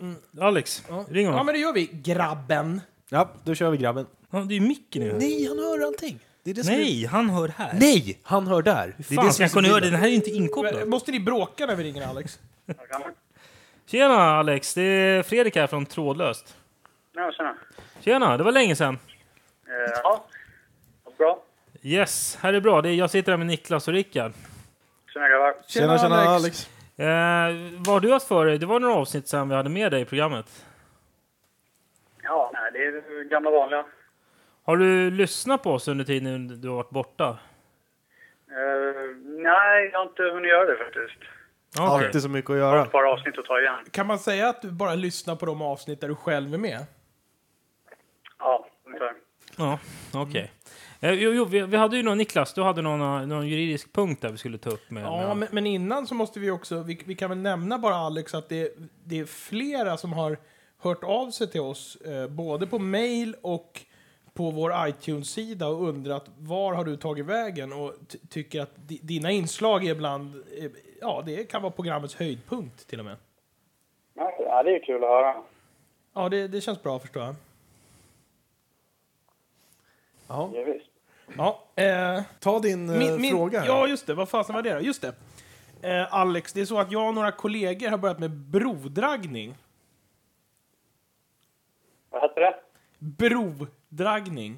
Speaker 3: Alex, ring
Speaker 5: Ja,
Speaker 3: honom.
Speaker 5: men det gör vi. Grabben.
Speaker 4: Ja, då kör vi grabben.
Speaker 3: Ja, det är ju micken nu.
Speaker 4: Nej, han hör allting. Det är det som är-
Speaker 3: Nej, han hör här.
Speaker 4: Nej, han hör där.
Speaker 3: Fan, det
Speaker 4: som
Speaker 3: jag kunna
Speaker 4: så
Speaker 3: höra det?
Speaker 4: kul.
Speaker 3: Den här är ju inte inkopplad.
Speaker 5: Måste ni bråka när vi ringer Alex?
Speaker 3: Tjena Alex, det är Fredrik här från Trådlöst.
Speaker 6: Ja, tjena.
Speaker 3: Tjena, det var länge sedan.
Speaker 6: Eh, ja, vad bra.
Speaker 3: Yes, här är bra. Det är, jag sitter här med Niklas och Rickard.
Speaker 6: Tjena grabbar.
Speaker 4: Tjena, tjena Alex.
Speaker 3: Eh, vad har du haft för dig? Det var några avsnitt sedan vi hade med dig i programmet.
Speaker 6: Ja, nej, det är det gamla vanliga.
Speaker 3: Har du lyssnat på oss under tiden du har varit borta?
Speaker 6: Eh, nej, jag har inte hunnit göra det faktiskt.
Speaker 3: Ja, okej.
Speaker 4: Alltid så mycket att göra.
Speaker 6: Ett par avsnitt att ta igen.
Speaker 5: Kan man säga att du bara lyssnar på de avsnitt där du själv är med?
Speaker 6: Ja, ungefär.
Speaker 3: Ja, okej. Eh, Jo, jo vi, vi hade ju någon, Niklas, du hade någon, eh, någon juridisk punkt där vi skulle ta upp med.
Speaker 5: Ja,
Speaker 3: med-
Speaker 5: men, men innan så måste vi också, vi, vi kan väl nämna bara Alex att det, det är flera som har hört av sig till oss, eh, både på mail och på vår iTunes-sida och undrat var har du tagit vägen och ty- tycker att di- dina inslag är ibland, eh, ja det kan vara programmets höjdpunkt till och med.
Speaker 6: Ja, det är kul att höra.
Speaker 5: Ja, det, det känns bra förstår jag.
Speaker 6: Ja, visst.
Speaker 5: Ja, eh,
Speaker 7: Ta din eh,
Speaker 5: Min, min,
Speaker 7: fråga. här.
Speaker 5: Ja, just det. Vad fasen var det då? Just det. Eh, Alex, det är så att jag och några kollegor har börjat med brodragning.
Speaker 6: Vad hette det?
Speaker 5: Brodragning.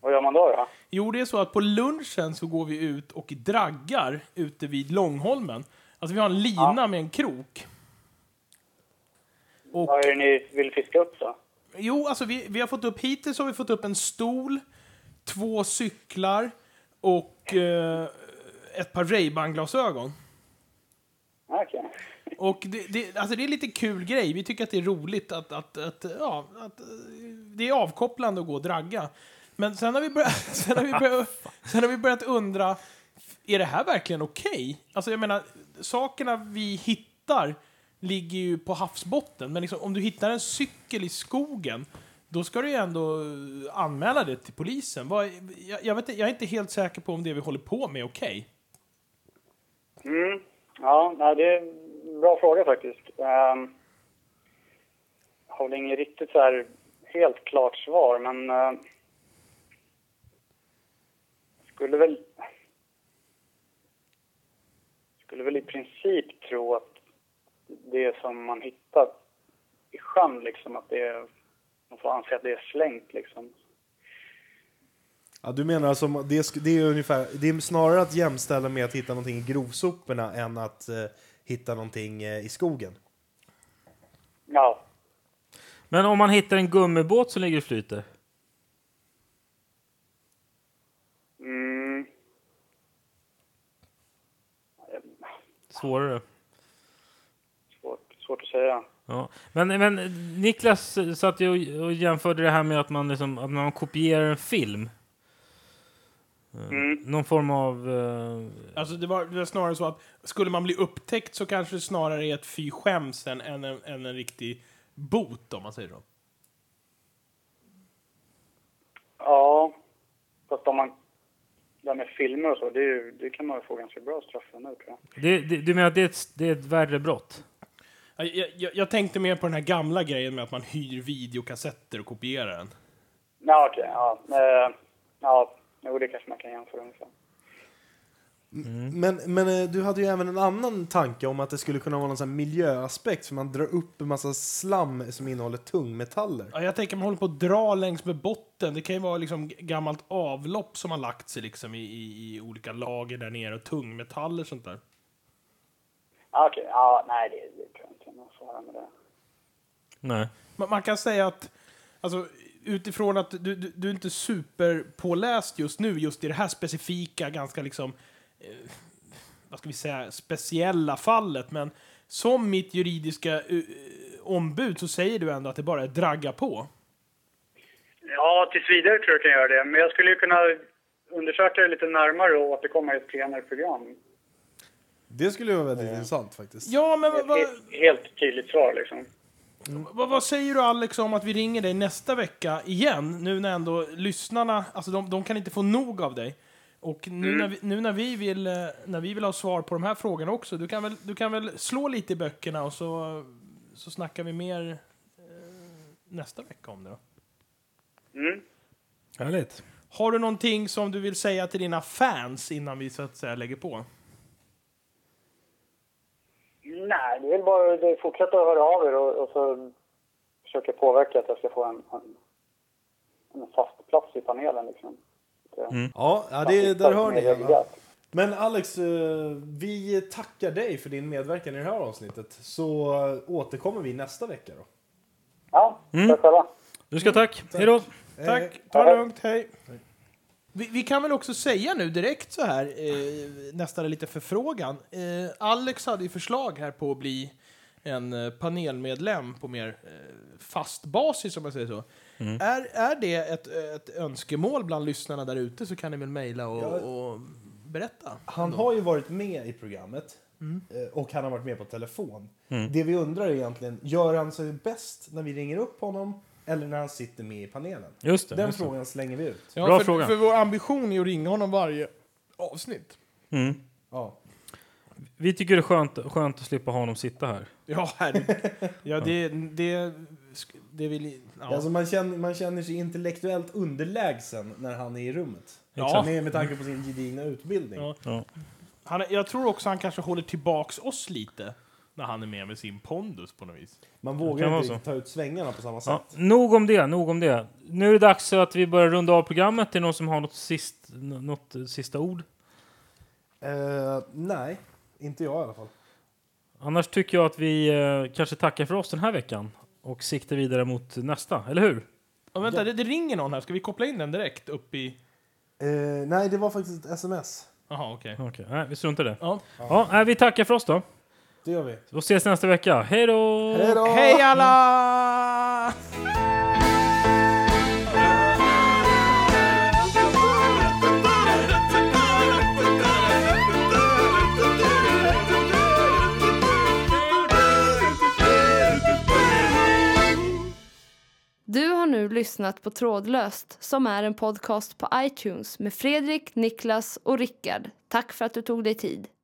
Speaker 6: Vad gör man då? då?
Speaker 5: Jo, det är så att på lunchen så går vi ut och draggar ute vid Långholmen. Alltså vi har en lina med en krok. Och,
Speaker 6: Vad är det ni vill fiska upp då?
Speaker 5: Jo, alltså vi, vi har fått upp hittills har vi fått upp en stol, två cyklar och eh, ett par Ray-Ban-glasögon.
Speaker 6: Okej.
Speaker 5: Och det, det, alltså det är en lite kul grej. Vi tycker att det är roligt att, att, att, ja, att eh, det är avkopplande att gå och dragga. Men sen har vi börjat, sen har vi börjat, sen har vi börjat undra, är det här verkligen okej? Alltså jag menar, sakerna vi hittar ligger ju på havsbotten. Men liksom, om du hittar en cykel i skogen, då ska du ju ändå eh, anmäla det till polisen. Vad, jag, jag, vet, inte- jag är inte helt säker på om det vi håller på med är okej.
Speaker 6: Mm. Ja, nej, det är en bra fråga faktiskt. Um, jag har väl inget riktigt så här helt klart svar, men eh, skulle väl skulle väl i princip tro att det som man hittar i sjön, liksom, att det är, man får anse att det är slängt liksom.
Speaker 7: Ja, du menar alltså, det, sk- det, är ungefär, det är snarare att jämställa med att hitta någonting i grovsoporna än att eh, hitta någonting eh, i skogen.
Speaker 6: Ja,
Speaker 3: Men om man hittar en gummibåt som ligger och flyter?
Speaker 6: mm,
Speaker 3: Svårare.
Speaker 6: svårt, svårt att säga.
Speaker 3: Ja. Men, men eh, Niklas satt ju och- och jämförde det här med att man, liksom, att man kopierar en film. Eh,
Speaker 6: Mm.
Speaker 3: Någon form av... eh,
Speaker 5: Alltså det var, det var snarare så att skulle man bli upptäckt så kanske det snarare är ett fy skäms än, än, en, än en riktig bot om man säger så.
Speaker 6: Ja, fast om man... Det här med filmer och så, det, är ju, det kan man ju få ganska bra straff för nu tror jag.
Speaker 3: det, det, du menar att det är, ett, det är ett värre brott?
Speaker 5: Jag, jag- jag, jag tänkte mer på den här gamla grejen med att man hyr videokassetter och kopierar den.
Speaker 6: Ja, okej. ja, eh, ja, jo, det kanske man kan jämföra ungefär.
Speaker 5: Mm.
Speaker 7: Men, men eh, du hade ju även en annan tanke om att det skulle kunna vara någon sån här miljöaspekt för man drar upp en massa slam som innehåller tungmetaller.
Speaker 5: Ja, jag tänker man håller på att dra längs med botten. Det kan ju vara liksom g- gammalt avlopp som har lagt sig liksom i, i, i olika lager där nere och tungmetaller och sånt där.
Speaker 6: Ja, okej. Ja, nej, det, det tror jag inte man får höra med det.
Speaker 3: Nej.
Speaker 5: Man, man kan säga att, alltså, utifrån att du, du, du är inte superpåläst just nu, just i det här specifika, ganska liksom, eh, vad ska vi säga, speciella fallet, men som mitt juridiska eh, ombud så säger du ändå att det bara är dragga på.
Speaker 6: Ja, tills vidare tror jag kan göra det. Men jag skulle ju kunna undersöka det lite närmare och återkomma i ett senare program.
Speaker 7: Det skulle ju vara väldigt intressant faktiskt.
Speaker 5: Ja, men vad,
Speaker 6: Ett he- helt tydligt svar liksom.
Speaker 5: vad, vad säger du Alex om att vi ringer dig nästa vecka igen, nu när ändå lyssnarna, alltså de, de kan inte få nog av dig. Och nu, när, vi, nu när, vi vill, eh, när vi vill ha svar på de här frågorna också, du kan väl, du kan väl slå lite i böckerna och så, så snackar vi mer eh, nästa vecka om det då.
Speaker 6: Mm.
Speaker 3: Härligt.
Speaker 5: Har du någonting som du vill säga till dina fans innan vi så att säga lägger på?
Speaker 6: Nej, det är väl bara att fortsätta höra av er och, och så försöka påverka att jag ska få en, en, en fast plats i panelen liksom. Det-
Speaker 4: Mm.
Speaker 7: Ja, ja det, där hör ni. Anna.
Speaker 6: Ja.
Speaker 7: Men Alex, eh, vi tackar dig för din medverkan i det här avsnittet. Så eh, återkommer vi nästa vecka då.
Speaker 6: Ja, tack själva.
Speaker 3: Du ska tack. Hej då.
Speaker 7: Eh,
Speaker 5: Tack,
Speaker 4: Eh,
Speaker 5: ta det lugnt, hej. Vi, vi kan väl också säga nu direkt så här, eh, nästan lite förfrågan. Eh, Alex hade ju förslag här på att bli en eh, panelmedlem på mer eh, fast basis, om man säger så.
Speaker 4: Mm.
Speaker 5: Är, är det ett, ett önskemål bland lyssnarna där ute så kan ni väl mejla och,
Speaker 4: Ja.
Speaker 5: och berätta.
Speaker 4: Han har ju varit med i programmet
Speaker 3: Mm.
Speaker 4: eh, och han har varit med på telefon. Det vi undrar är egentligen, gör han sig bäst när vi ringer upp honom eller när han sitter med i panelen?
Speaker 3: Just det.
Speaker 4: Den
Speaker 3: just det.
Speaker 4: frågan slänger vi ut.
Speaker 5: Ja,
Speaker 3: Bra
Speaker 5: för,
Speaker 3: fråga.
Speaker 5: för vår ambition är att ringa honom varje avsnitt.
Speaker 3: Mm.
Speaker 4: Ja.
Speaker 3: Vi tycker det är skönt, skönt att slippa ha honom sitta här.
Speaker 5: Ja, herregud. ja, det, det, det vill... Ja.
Speaker 4: Alltså man, känner, man känner sig intellektuellt underlägsen när han är i rummet. Liksom,
Speaker 5: Ja.
Speaker 4: Med, med tanke på sin gedigna utbildning.
Speaker 5: Ja.
Speaker 3: Ja.
Speaker 5: Han, är- jag tror också han kanske håller tillbaks oss lite när han är med med sin pondus på något vis.
Speaker 4: Man
Speaker 3: Det kan
Speaker 4: vågar
Speaker 3: vara
Speaker 4: inte
Speaker 3: så.
Speaker 4: riktigt ta ut svängarna på samma
Speaker 3: Ja,
Speaker 4: sätt.
Speaker 3: nog om det, nog om det. Nu är det dags så att vi börjar runda av programmet. Är det någon som har något, sist, nå- något eh, sista ord?
Speaker 4: Eh, nej, inte jag i alla fall.
Speaker 3: Annars tycker jag att vi eh, kanske tackar för oss den här veckan och siktar vidare mot nästa, eller hur?
Speaker 5: Och vänta, det, det ringer någon här. Ska vi koppla in den direkt upp i...
Speaker 4: Eh, nej, det var faktiskt ett sms.
Speaker 5: Jaha, okej.
Speaker 3: Okej, nej, vi struntar i det.
Speaker 5: Ja.
Speaker 3: Ja, nej, vi tackar för oss då.
Speaker 4: Det gör vi.
Speaker 3: Och ses nästa vecka. Hej då!
Speaker 4: Hej då!
Speaker 5: Hej alla!
Speaker 1: Du har nu lyssnat på Trådlöst som är en podcast på iTunes med Fredrik, Niklas och Rickard. Tack för att du tog dig tid.